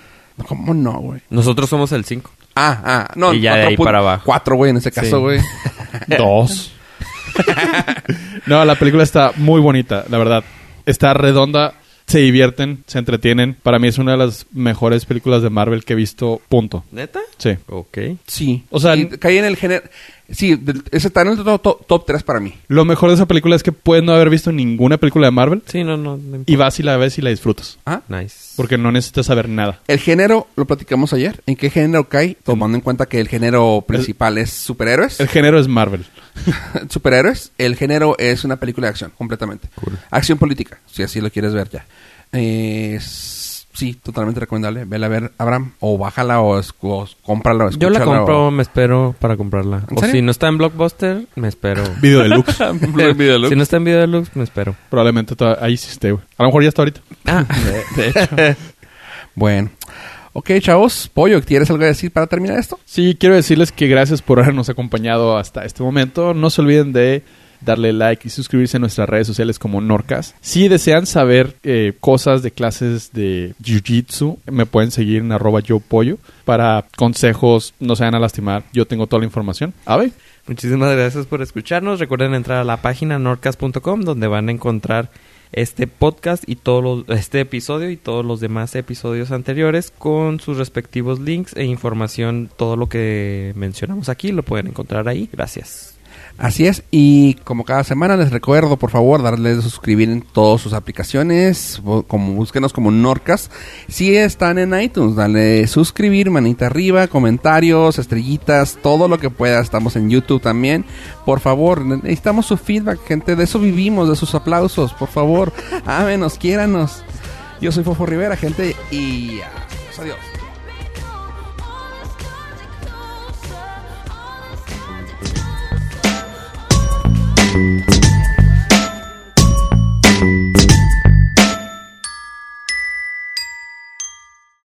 [SPEAKER 5] ¿Cómo no, güey?
[SPEAKER 2] Nosotros somos el 5.
[SPEAKER 5] Ah, ah, no.
[SPEAKER 2] Y ya de
[SPEAKER 5] cuatro
[SPEAKER 2] ahí
[SPEAKER 5] pun-
[SPEAKER 2] para abajo.
[SPEAKER 5] Cuatro, güey, en ese caso,
[SPEAKER 2] Sí.
[SPEAKER 5] güey.
[SPEAKER 4] Dos. no, la película está muy bonita, la verdad. Está redonda, se divierten, se entretienen. Para mí es una de las mejores películas de Marvel que he visto, punto.
[SPEAKER 2] ¿Neta?
[SPEAKER 4] Sí.
[SPEAKER 2] Ok.
[SPEAKER 5] Sí.
[SPEAKER 4] O sea,
[SPEAKER 5] Sí, caí en el género. Sí, de- ese está en el to- to- top 3 para mí.
[SPEAKER 4] Lo mejor de esa película es que puedes no haber visto ninguna película de Marvel
[SPEAKER 2] Sí, no, no. no importa.
[SPEAKER 4] y vas y la ves y la disfrutas.
[SPEAKER 5] Ah,
[SPEAKER 2] Nice.
[SPEAKER 4] Porque no necesitas saber nada.
[SPEAKER 5] El género, lo platicamos ayer. ¿En qué género cae? Tomando en cuenta que el género principal es superhéroes.
[SPEAKER 4] El género es Marvel.
[SPEAKER 5] superhéroes. El género es una película de acción, completamente. Acción política, si así lo quieres ver ya. Eh, s- sí, totalmente recomendable. Vela a ver, Abraham. O bájala o, es- o cómprala o
[SPEAKER 2] Yo la
[SPEAKER 5] escúchala,
[SPEAKER 2] compro,
[SPEAKER 5] o-
[SPEAKER 2] me espero para comprarla.
[SPEAKER 5] ¿En
[SPEAKER 2] O
[SPEAKER 5] serio?
[SPEAKER 2] si no está en Blockbuster, me espero.
[SPEAKER 4] Video deluxe.
[SPEAKER 2] si no está en Video Deluxe, me espero.
[SPEAKER 4] Probablemente toda- ahí sí esté, güey. A lo mejor ya está ahorita.
[SPEAKER 2] Ah,
[SPEAKER 5] Bueno. Ok, chavos. Pollo, ¿tienes algo que decir para terminar esto?
[SPEAKER 4] Sí, quiero decirles que gracias por habernos acompañado hasta este momento. No se olviden de darle like y suscribirse a nuestras redes sociales como Norcas. Si desean saber eh, cosas de clases de Jiu-Jitsu, me pueden seguir en arroba yo pollo para consejos, no se van a lastimar. Yo tengo toda la información. A ver,
[SPEAKER 2] Muchísimas gracias por escucharnos. Recuerden entrar a la página nordcast.com donde van a encontrar este podcast y todos los- este episodio y todos los demás episodios anteriores con sus respectivos links e información. Todo lo que mencionamos aquí lo pueden encontrar ahí. Gracias.
[SPEAKER 5] Así es, y como cada semana les recuerdo, por favor, darles suscribir en todas sus aplicaciones, bo- como búsquenos como Norcas. Si están en iTunes, dale suscribir, manita arriba, comentarios, estrellitas, todo lo que pueda. Estamos en YouTube también. Por favor, ne- necesitamos su feedback, gente, de eso vivimos, de sus aplausos, por favor. Ámenos, quiéranos. Yo soy Fofo Rivera, gente, y adiós, adiós.
[SPEAKER 3] Closer, always standing closer.